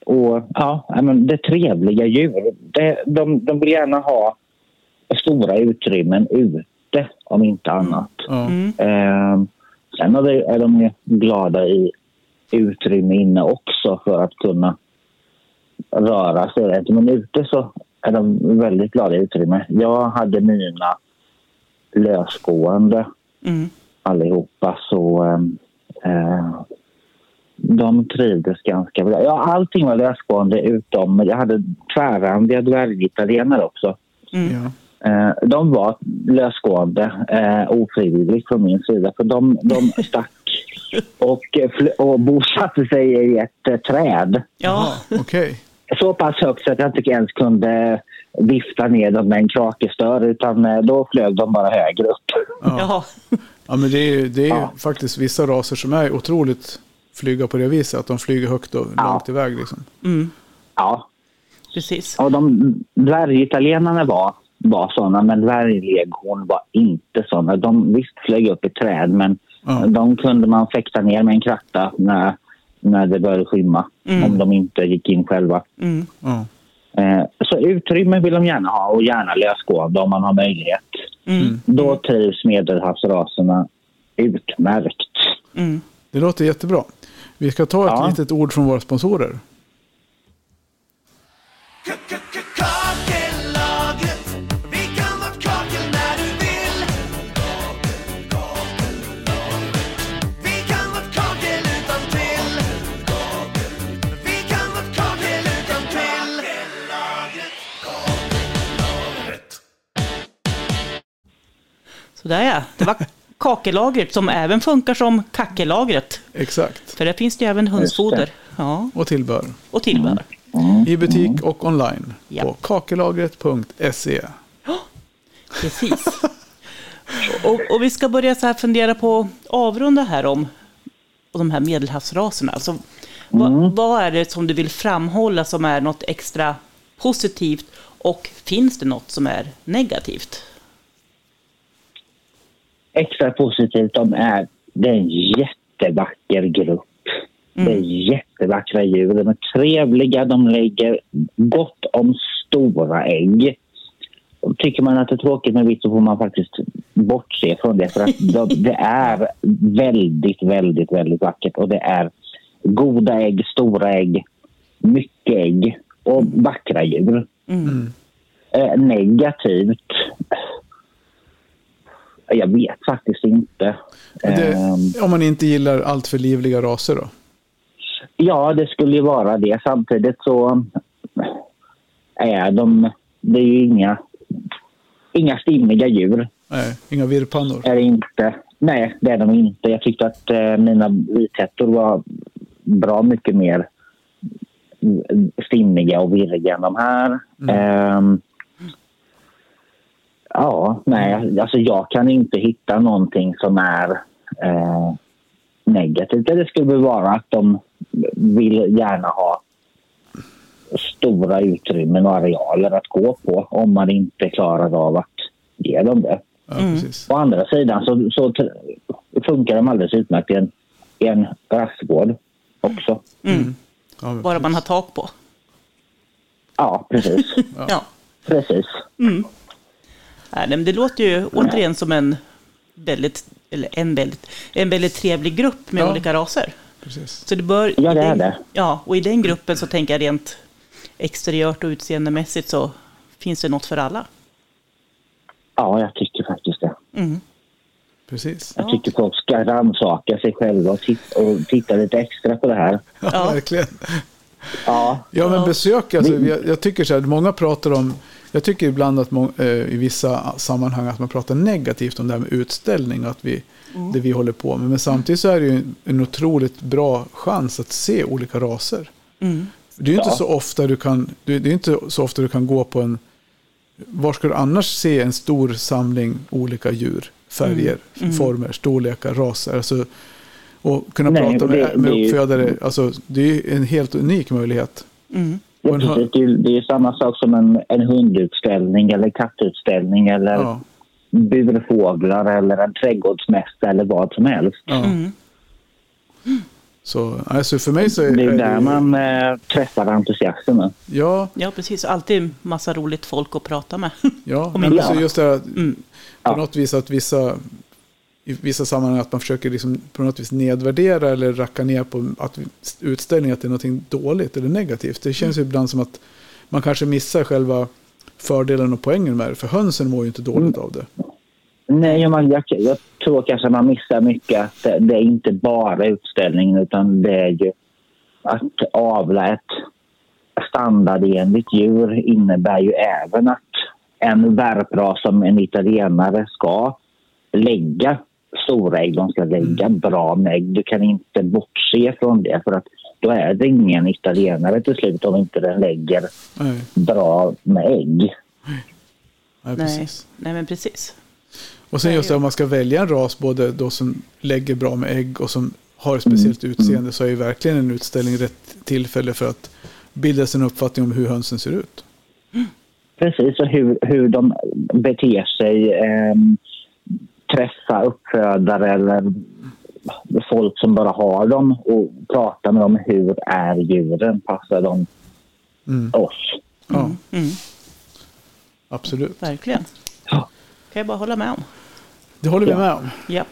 Speaker 3: och ja, ja, men det är trevliga djur. Det, de, de vill gärna ha stora utrymmen ute, om inte annat.
Speaker 2: ja.
Speaker 1: Mm.
Speaker 3: Ehm, sen är, det, är de ju glada i utrymme inne också för att kunna röra sig. rätt. Men ute så är de väldigt glada i utrymme. Jag hade mina lösgående
Speaker 1: Mm.
Speaker 3: allihopa så ehm, eh, de trivdes ganska bra. Ja, allting var lösgående utom, jag hade tvärrandiga dvärgitalienare också.
Speaker 1: Mm.
Speaker 2: Ja.
Speaker 3: Eh, de var lösgående eh, ofrivilligt från min sida för de, de stack och, eh, fl- och bosatte sig i ett eh, träd.
Speaker 1: Ja.
Speaker 2: Jaha, Okej.
Speaker 3: Så pass högt så att jag inte ens kunde vifta ner dem med en krakestöre utan eh, då flög de bara högre upp.
Speaker 2: Ja.
Speaker 1: Jaha.
Speaker 2: Ja, men det är ju, det är ju
Speaker 3: Ja.
Speaker 2: faktiskt vissa raser som är otroligt flyga på det viset. Att de flyger högt och
Speaker 3: Ja.
Speaker 2: långt iväg liksom.
Speaker 1: Mm.
Speaker 3: Ja,
Speaker 1: Precis.
Speaker 3: Ja, de dvärgitalienarna var, var sådana, men dvärgleghorn var inte sådana. De visst flög upp i träd, men
Speaker 2: Ja.
Speaker 3: de kunde man fäkta ner med en kratta när, när det började skymma, om de inte gick in själva.
Speaker 1: Mm.
Speaker 2: Ja.
Speaker 3: Eh, så utrymme vill de gärna ha och gärna lösgående om man har möjlighet.
Speaker 1: Mm.
Speaker 3: Då trivs medelhavsraserna utmärkt.
Speaker 1: Mm.
Speaker 2: Det låter jättebra. Vi ska ta ett
Speaker 3: Ja.
Speaker 2: litet ord från våra sponsorer.
Speaker 4: Kakelagret, vi kan vart kakel när du vill. Vi kan vart kakel utan till. Vi kan vart kakel utan till.
Speaker 1: Sådär ja. Det var kakelagret som även funkar som kackelagret.
Speaker 2: Exakt.
Speaker 1: För där finns det Mm. ju även hönsfoder. Ja.
Speaker 2: Och tillbehör.
Speaker 1: Och tillbehör.
Speaker 2: I butik och online.
Speaker 1: Ja.
Speaker 2: På kakelagret.se.
Speaker 1: Precis. Och, och vi ska börja så här fundera på avrunda här om och de här medelhavsraserna. Alltså, vad, vad är det som du vill framhålla som är något extra positivt och finns det något som är negativt?
Speaker 3: extra positivt de är, det är en jättevacker grupp. Det är jättevackra djur. De är trevliga, de lägger gott om stora ägg. Och Tycker man att det är tråkigt med vitt så får man faktiskt bortse från det. För att de, det är väldigt, väldigt, väldigt vackert. Och det är goda ägg, stora ägg, mycket ägg och vackra djur. Eh, negativt? Jag vet faktiskt inte.
Speaker 2: Men Det,
Speaker 3: Ehm,
Speaker 2: om man inte gillar allt för livliga raser då?
Speaker 3: Ja, det skulle ju vara det. Samtidigt så är de... Det är ju inga, inga stimmiga djur.
Speaker 2: Nej, inga virrpannor.
Speaker 3: Är det inte. Nej, det är de inte. Jag tyckte att eh, mina vithättor var bra mycket mer stimmiga och virriga än de här. Ehm, ja, nej, alltså jag kan inte hitta någonting som är eh, negativt. Det skulle väl vara att de vill gärna ha stora utrymmen och arealer att gå på om man inte klarar av att ge dem det.
Speaker 2: Ja, precis.
Speaker 3: Å andra sidan så, så t- funkar de alldeles utmärkt i en, i en rastgård också.
Speaker 2: Ja,
Speaker 1: Bara
Speaker 2: men precis.
Speaker 1: man har tak på.
Speaker 3: Ja, precis.
Speaker 1: Ja.
Speaker 3: precis.
Speaker 1: Nej, men det låter ju återigen som en väldigt, eller en väldigt, en väldigt trevlig grupp med
Speaker 2: Ja.
Speaker 1: olika raser.
Speaker 2: precis.
Speaker 1: Så det bör,
Speaker 3: Ja, det
Speaker 1: i
Speaker 3: är
Speaker 1: den,
Speaker 3: det.
Speaker 1: Ja, och i den gruppen så tänker jag rent exteriört och utseendemässigt så finns det något för alla.
Speaker 3: Ja, jag tycker faktiskt det.
Speaker 2: precis.
Speaker 3: Jag tycker folk ska rannsaka sig själva och, tit- och titta lite extra på det här.
Speaker 2: Ja,
Speaker 1: Ja.
Speaker 2: verkligen.
Speaker 3: Ja,
Speaker 2: Ja, men besök. Alltså, jag, jag tycker så här, många pratar om... Jag tycker ibland att må, eh, i vissa sammanhang att man pratar negativt om det här med utställning och att vi,
Speaker 3: Mm.
Speaker 2: det vi håller på med. Men samtidigt så är det ju en, en otroligt bra chans att se olika raser. Det är ju inte
Speaker 3: Mm. Ja.
Speaker 2: så ofta du kan... Det det är inte så ofta du kan gå på en... Var ska du annars se en stor samling olika djur? färger,
Speaker 3: Mm.
Speaker 2: former, storlekar, raser. Alltså, och kunna
Speaker 3: Nej,
Speaker 2: prata
Speaker 3: och
Speaker 2: med,
Speaker 3: det-
Speaker 2: med
Speaker 3: det är ju-
Speaker 2: uppfödare. Alltså, det är ju en helt unik möjlighet.
Speaker 3: Ja,
Speaker 2: Och en hö-
Speaker 3: precis. Det är ju- det är ju samma sak som en, en hundutställning eller kattutställning eller
Speaker 2: Ja,
Speaker 3: burfåglar eller en trädgårdsmästare eller vad som helst.
Speaker 2: ja. Mm. Så alltså för mig så är
Speaker 3: Det är
Speaker 2: är
Speaker 3: ju
Speaker 2: det
Speaker 3: där
Speaker 2: ju-
Speaker 3: man eh, träffar entusiasterna.
Speaker 2: Ja,
Speaker 1: Ja, precis. Alltid massa roligt folk att prata med.
Speaker 2: Ja,
Speaker 1: Om
Speaker 2: men
Speaker 1: inte
Speaker 2: alltså
Speaker 3: annat.
Speaker 2: just det här att på
Speaker 3: Ja.
Speaker 2: något vis att vissa i vissa sammanhang att man försöker liksom på något vis nedvärdera eller racka ner på att utställning att det är någonting dåligt eller negativt. Det känns ju ibland som att man kanske missar själva fördelen och poängen med det. För hönsen mår ju inte dåligt av det.
Speaker 3: Nej, man, jag, jag tror kanske man missar mycket att det, det är inte bara utställningen utan det är ju att avla ett standardenligt djur innebär ju även att en värpras som en italienare ska lägga stora ägg, de ska lägga bra med ägg. Du kan inte bortse från det för att då är det ingen italienare till slut om inte den lägger
Speaker 2: Nej,
Speaker 3: bra med ägg.
Speaker 2: nej,
Speaker 1: Nej.
Speaker 2: precis.
Speaker 1: Nej, men precis.
Speaker 2: Och sen just det, om man ska välja en ras både då som lägger bra med ägg och som har ett speciellt
Speaker 1: Mm,
Speaker 2: utseende så är ju verkligen en utställning rätt tillfälle för att bilda sig en uppfattning om hur hönsen ser ut.
Speaker 3: Precis, och hur, hur de beter sig. ehm, träffa uppfödare eller folk som bara har dem och prata med dem. Hur är djuren? Passar de oss?
Speaker 2: Ja,
Speaker 1: Mm,
Speaker 2: absolut.
Speaker 1: verkligen.
Speaker 3: Ja.
Speaker 1: kan jag bara hålla med om.
Speaker 2: Det håller vi med om.
Speaker 1: Japp.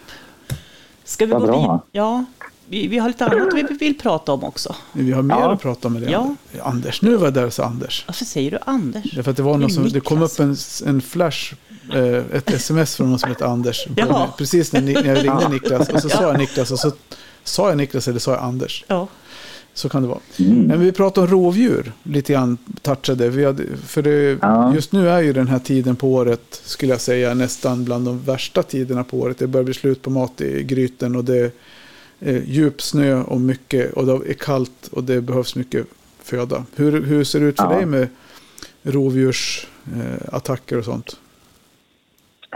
Speaker 1: Ska vi
Speaker 3: Vad
Speaker 1: gå
Speaker 3: bra.
Speaker 1: vidare? Ja, vi, vi har lite annat vi vill prata om också.
Speaker 2: Vi har mer
Speaker 3: Ja.
Speaker 2: att prata om med det.
Speaker 1: Ja.
Speaker 2: Anders, nu var jag där och sa Anders.
Speaker 1: Varför säger du Anders?
Speaker 2: Därför att det var någon som, det kom
Speaker 1: Mm, Niklas.
Speaker 2: upp en, en flash, eh, ett sms från någon som hette Anders.
Speaker 1: Jaha.
Speaker 2: Precis när, ni, när jag ringde Niklas och så sa jag Niklas och så sa jag Niklas eller sa jag Anders.
Speaker 1: Ja.
Speaker 2: Så kan det vara.
Speaker 3: Mm.
Speaker 2: Men vi pratade om rovdjur lite grann, touchade. Vi hade, för det,
Speaker 3: Ja.
Speaker 2: just nu är ju den här tiden på året, skulle jag säga, nästan bland de värsta tiderna på året. Det börjar bli slut på mat i gryten och det är eh, djup snö och mycket och det är kallt och det behövs mycket föda. Hur, hur ser det ut för
Speaker 3: Ja.
Speaker 2: dig med rovdjursattacker eh, attacker och sånt?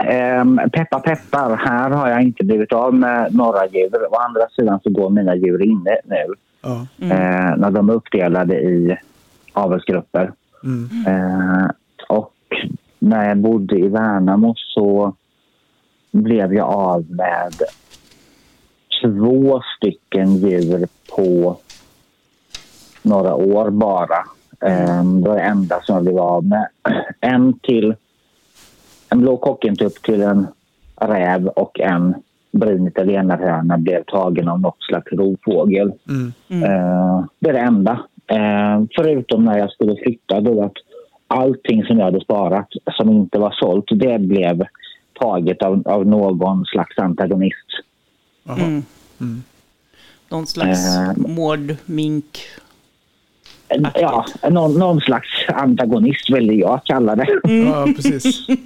Speaker 3: Ehm, peppa peppar, här har jag inte blivit av med några djur. Å andra sidan så går mina djur inne nu.
Speaker 2: Ja,
Speaker 3: eh, när de är uppdelade i avelsgrupper. Eh, och när jag bodde i Värnamo så blev jag av med två stycken djur på några år bara. Eh, det var det enda som jag blev av med. En till en blå kockentupp till en räv och en brun italienarhöna blev tagen av något slags rovfågel. Eh, det är det enda. Eh, förutom när jag skulle flytta då att allting som jag hade sparat som inte var sålt det blev taget av, av någon slags antagonist.
Speaker 2: Jaha.
Speaker 1: Någon slags
Speaker 3: Eh.
Speaker 1: mårdmink.
Speaker 3: Eh, Ja, någon, någon slags antagonist ville jag kalla det.
Speaker 2: ja precis.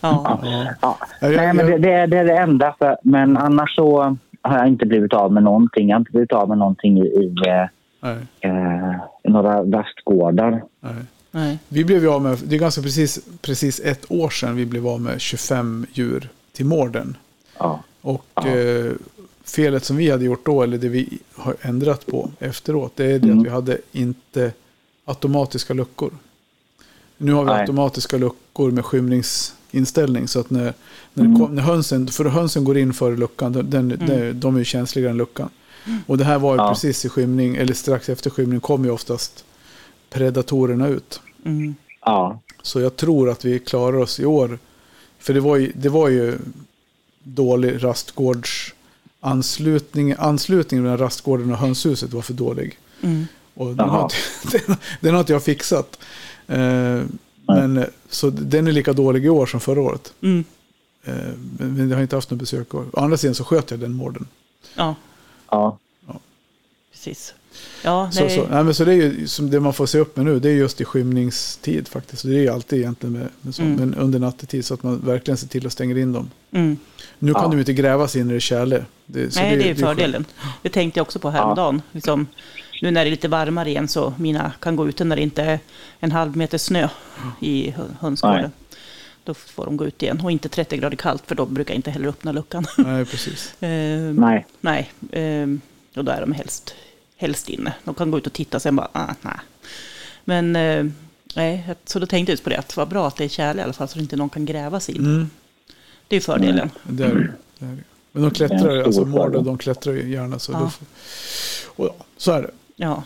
Speaker 1: Ja.
Speaker 3: Ja.
Speaker 2: Ja, jag-
Speaker 3: Nej, men det,
Speaker 2: jag-
Speaker 3: det, är- det är det enda. För, men annars så har jag inte blivit av med någonting. Jag har inte blivit av med någonting i, i eh,
Speaker 2: Nej,
Speaker 3: eh, några rastgårdar.
Speaker 2: nej.
Speaker 1: Nej.
Speaker 2: Vi blev ju av med, det är ganska precis, precis ett år sedan vi blev av med 25 djur till mården.
Speaker 3: Ja.
Speaker 2: Och eh, felet som vi hade gjort då, eller det vi har ändrat på efteråt, det är det
Speaker 3: Mm.
Speaker 2: att vi hade inte automatiska luckor. Nu har vi
Speaker 3: Nej.
Speaker 2: automatiska luckor med skymningsinställning. Så att när, när,
Speaker 3: Mm.
Speaker 2: det kom, när hönsen, för hönsen går in före luckan, den, den, den, de är ju känsligare än luckan. Och det här var ju
Speaker 3: Ja.
Speaker 2: precis i skymning, eller strax efter skymning kom ju oftast predatorerna ut.
Speaker 3: ja.
Speaker 2: Så jag tror att vi klarar oss i år. För det var ju, det var ju dålig rastgårds anslutning, anslutningen mellan rastgården och hönshuset var för dålig. Och den, har
Speaker 3: Jaha.
Speaker 2: inte, den, den har inte jag fixat. Eh, men, så den är lika dålig i år som förra året.
Speaker 1: Mm.
Speaker 2: Eh, men, men jag har inte haft något besök. i år. Å andra sidan så sköt jag den morden.
Speaker 1: ja,
Speaker 3: ja.
Speaker 1: precis. Ja,
Speaker 2: Så,
Speaker 1: nej.
Speaker 2: så, nej, men så det är ju som det man får se upp med nu, det är just i skymningstid faktiskt. Så det är ju alltid egentligen med, med så, men under nattetid så att man verkligen ser till att stänga in dem.
Speaker 1: Mm.
Speaker 2: Nu kan
Speaker 3: Ja.
Speaker 2: de ju inte grävas in i det kärle. Det, så
Speaker 1: Nej, det är
Speaker 2: skönt.
Speaker 1: fördelen. Det tänkte jag också på häromdagen. Liksom, nu när det är lite varmare igen så mina kan gå ute när det inte är en halv meter snö i hö- hönsgården.
Speaker 3: Nej.
Speaker 1: Då får de gå ut igen. Och inte 30 grader kallt, för då brukar jag inte heller öppna luckan.
Speaker 2: Nej, precis.
Speaker 1: Ehm,
Speaker 3: Nej.
Speaker 1: Nej, ehm, och då är de helst, helst inne. De kan gå ut och titta, sen bara, ah, nej. Men, eh, nej, så då tänkte jag just på det, att vad bra att det är kärle i alla fall, så att inte någon kan gräva sig in.
Speaker 2: Mm,
Speaker 1: Det är ju fördelen.
Speaker 2: det är det. det. Är det. Men de
Speaker 3: Det
Speaker 2: klättrar,
Speaker 3: är en stor
Speaker 2: alltså mården,
Speaker 3: fördel.
Speaker 2: de klättrar ju gärna. Så,
Speaker 1: Ja.
Speaker 2: då får, och ja, så är det.
Speaker 1: Ja.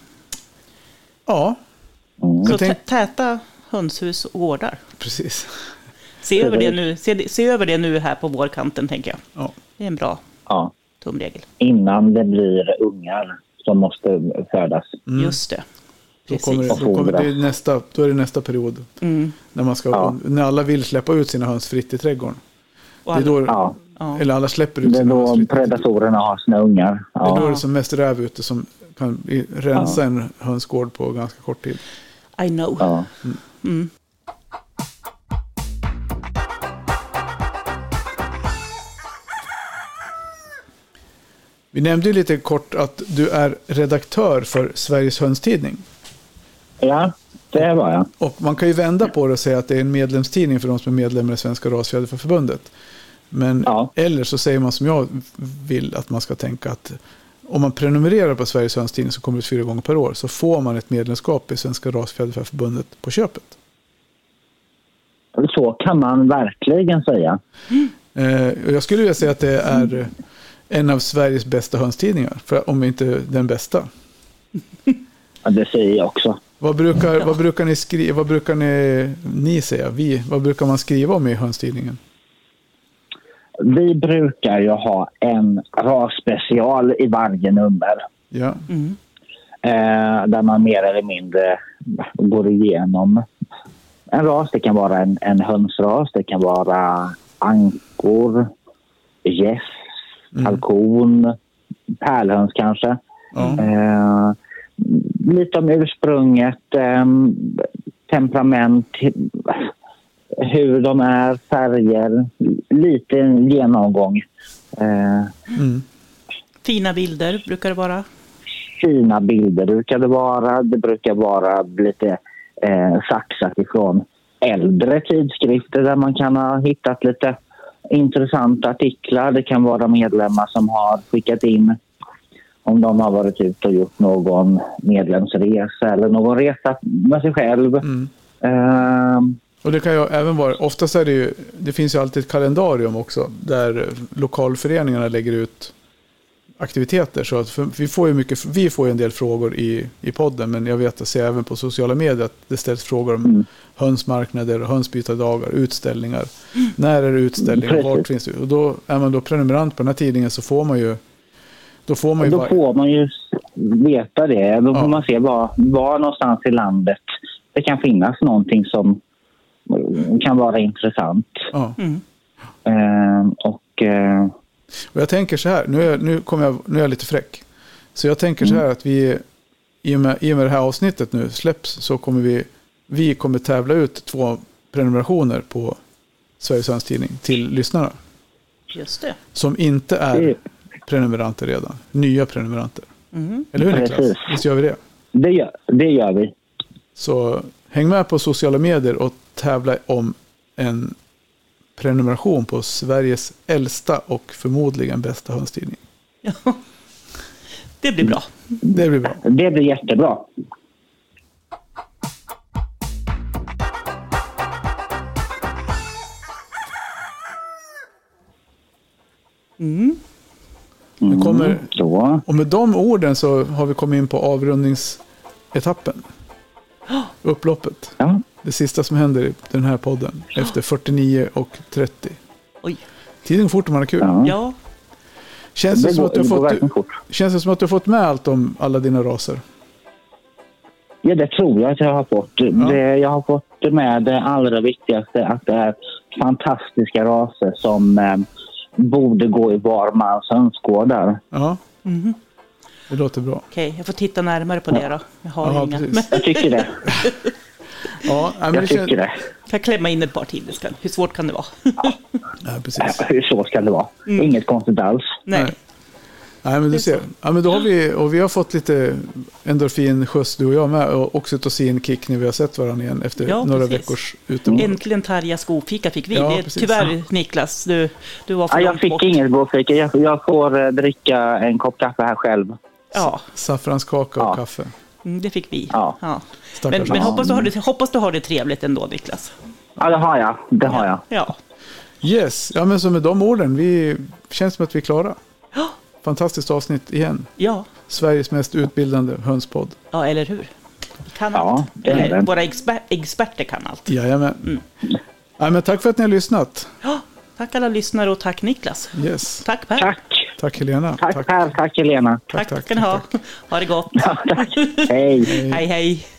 Speaker 2: Ja,
Speaker 3: Mm.
Speaker 1: Så
Speaker 2: tänk-
Speaker 1: tä- täta hönshus och gårdar.
Speaker 2: precis.
Speaker 1: Se över, det nu, se, det- se över det nu här på vårkanten, tänker jag.
Speaker 2: Ja,
Speaker 1: Det är en bra
Speaker 3: Ja.
Speaker 1: tumregel.
Speaker 3: Innan det blir ungar som måste födas.
Speaker 1: Just det.
Speaker 2: Mm. då,
Speaker 1: Precis.
Speaker 2: kommer det, då, kommer det är nästa, då är det nästa period.
Speaker 1: Mm.
Speaker 2: När, man ska,
Speaker 3: Ja.
Speaker 2: när alla vill släppa ut sina höns fritt i trädgården.
Speaker 1: Och
Speaker 2: Det är
Speaker 1: alla-
Speaker 2: då,
Speaker 3: Ja.
Speaker 1: ja.
Speaker 2: Eller alla släpper ut
Speaker 3: Det är
Speaker 2: sina höns
Speaker 3: då
Speaker 2: fritt. i trädgården.
Speaker 3: predatorerna har sina ungar.
Speaker 2: Det är då
Speaker 3: Ja.
Speaker 2: det är som mest räv ute som kan i- rensa en hönsgård på ganska kort tid.
Speaker 1: I know.
Speaker 3: Ja.
Speaker 2: Vi nämnde ju lite kort att du är redaktör för Sveriges hönstidning.
Speaker 3: ja, det var jag.
Speaker 2: Och man kan ju vända på det och säga att det är en medlemstidning för de som är medlemmar i Svenska Rasfjäderförbundet. Men
Speaker 3: Ja.
Speaker 2: eller så säger man som jag vill att man ska tänka att om man prenumererar på Sveriges hönstidning som kommer ut fyra gånger per år så får man ett medlemskap i Svenska Rasfjäderförbundet på köpet.
Speaker 3: Så kan man verkligen säga.
Speaker 2: Eh, och jag skulle vilja säga att det är eh, en av Sveriges bästa hönstidningar, för, om inte den bästa.
Speaker 3: Ja, Det säger jag också.
Speaker 2: Vad brukar, vad brukar, ni, skri- vad brukar ni, ni säga? Vi, vad brukar man skriva om i hönstidningen?
Speaker 3: Vi brukar ju ha en rasspecial i varje nummer.
Speaker 2: Ja,
Speaker 3: Eh, där man mer eller mindre går igenom en ras. Det kan vara en, en hönsras, det kan vara ankor, gäss, kalkon, pärlhöns kanske.
Speaker 2: Ja.
Speaker 3: Eh, lite om ursprunget, eh, temperament, hur de är, färger, lite en genomgång. Eh,
Speaker 2: Mm.
Speaker 1: Fina bilder brukar det vara.
Speaker 3: fina bilder brukar det vara. Det brukar vara lite eh, saxat ifrån äldre tidskrifter där man kan ha hittat lite intressanta artiklar. Det kan vara medlemmar som har skickat in om de har varit ute och gjort någon medlemsresa eller någon resa med sig själv. Ehm,
Speaker 2: och det kan ju även vara, oftast är det ju, det finns ju alltid ett kalendarium också, där lokalföreningarna lägger ut aktiviteter. Så att för, vi, får ju mycket, vi får ju en del frågor i, i podden, men jag vet att se även på sociala medier att det ställs frågor om
Speaker 3: Mm.
Speaker 2: hönsmarknader, hönsbytardagar, utställningar. När är det utställningar?
Speaker 3: Mm, Precis.
Speaker 2: Vart finns det? Och då är man då prenumerant på den här tidningen så får man ju då får man ju
Speaker 3: Då
Speaker 2: var-
Speaker 3: får man ju veta det. Då
Speaker 2: Ja.
Speaker 3: får man se var, var någonstans i landet det kan finnas någonting som eh, kan vara intressant.
Speaker 2: ja.
Speaker 3: Eh, och eh,
Speaker 2: Och jag tänker så här, nu är, nu, kommer jag, nu är jag lite fräck. Så jag tänker så här att vi, i och, med, i och med det här avsnittet nu släpps, så kommer vi, vi kommer tävla ut två prenumerationer på Sveriges Öns Tidning till lyssnarna.
Speaker 1: Just det.
Speaker 2: Som inte är
Speaker 3: Mm.
Speaker 2: prenumeranter redan, nya prenumeranter.
Speaker 1: Mm.
Speaker 2: Eller hur Niklas?
Speaker 3: Precis.
Speaker 2: Visst gör vi det?
Speaker 3: det, gör, det gör vi.
Speaker 2: Så häng med på sociala medier och tävla om en prenumeration på Sveriges äldsta och förmodligen bästa hönstidning.
Speaker 1: Ja. Det blir bra.
Speaker 2: Det blir bra.
Speaker 3: Det blir jättebra. Mm,
Speaker 2: Nu kommer
Speaker 3: Så,
Speaker 2: Och med de orden så har vi kommit in på avrundningsetappen. Upploppet.
Speaker 3: ja.
Speaker 2: Det sista som händer i den här podden efter 49 och 30.
Speaker 1: Oj.
Speaker 2: Tiden går fort om man har kul.
Speaker 3: Ja.
Speaker 1: Ja,
Speaker 2: Känns, det
Speaker 3: Det
Speaker 2: som
Speaker 3: går-
Speaker 2: att du har
Speaker 3: det går
Speaker 2: fått,
Speaker 3: verkligen fort.
Speaker 2: känns det som att du har fått med allt om alla dina raser?
Speaker 3: ja, det tror jag att jag har fått. Det, jag har fått med det allra viktigaste att det är fantastiska raser som eh, borde gå i var mans hönsgårdar.
Speaker 2: Ja.
Speaker 1: Mhm.
Speaker 2: Det låter bra.
Speaker 1: okej. Jag får titta närmare på det då. Jag har
Speaker 2: Ja,
Speaker 1: inga.
Speaker 2: precis.
Speaker 1: Men
Speaker 3: Jag tycker det.
Speaker 2: Ja, nej, men
Speaker 3: Jag tycker det.
Speaker 1: jag kan klämma in ett par till. det ska- Hur svårt kan det vara?
Speaker 2: Nej, precis.
Speaker 1: Mm.
Speaker 3: Hur så ska det vara. Inget konstigt alls.
Speaker 1: Nej.
Speaker 2: Nej. Nej, men
Speaker 1: Det
Speaker 2: du
Speaker 1: är
Speaker 2: ser.
Speaker 1: så.
Speaker 2: Ja, men då har vi, och vi har fått lite endorfinskjuts du och jag med och oxytocinkick när vi har sett varandra igen efter
Speaker 1: Ja,
Speaker 2: några
Speaker 1: precis.
Speaker 2: veckors utomhus.
Speaker 1: Äntligen Tarja skofika fick vi.
Speaker 2: Ja,
Speaker 1: det, är
Speaker 2: precis.
Speaker 1: tyvärr Niklas, du, du var för
Speaker 3: Ja, jag
Speaker 1: långt bort.
Speaker 3: fick inget blodfika. Jag, jag får eh, dricka en kopp kaffe här själv.
Speaker 1: Ja,
Speaker 2: Saffranskaka och
Speaker 3: Ja.
Speaker 2: kaffe.
Speaker 1: mm, det fick vi.
Speaker 3: Ja.
Speaker 2: Stackars
Speaker 1: Men, men
Speaker 2: Hans.
Speaker 1: hoppas, du har det, hoppas du har det trevligt ändå Niklas.
Speaker 3: Ja, det har jag. Det har jag.
Speaker 1: Ja.
Speaker 2: Yes, ja, men så med de orden, vi känns som att vi är klara.
Speaker 1: Ja.
Speaker 2: Fantastiskt avsnitt igen.
Speaker 1: Ja,
Speaker 2: Sveriges mest utbildande hönspodd.
Speaker 1: ja eller hur? Vi kan
Speaker 3: Ja,
Speaker 1: allt.
Speaker 3: det är
Speaker 1: Eller,
Speaker 3: det.
Speaker 1: våra exper- experter kan allt.
Speaker 2: Jajamän.
Speaker 1: Mm.
Speaker 2: Ja, men tack för att ni har lyssnat.
Speaker 1: Ja, tack alla lyssnare och tack Niklas.
Speaker 2: Yes.
Speaker 1: Tack Per.
Speaker 3: Tack!
Speaker 2: Tack Helena.
Speaker 3: Tack Per, tack Helena.
Speaker 1: tack,
Speaker 2: tack,
Speaker 1: ska ni ha. Ha det gott.
Speaker 3: Hej!
Speaker 1: hej hej.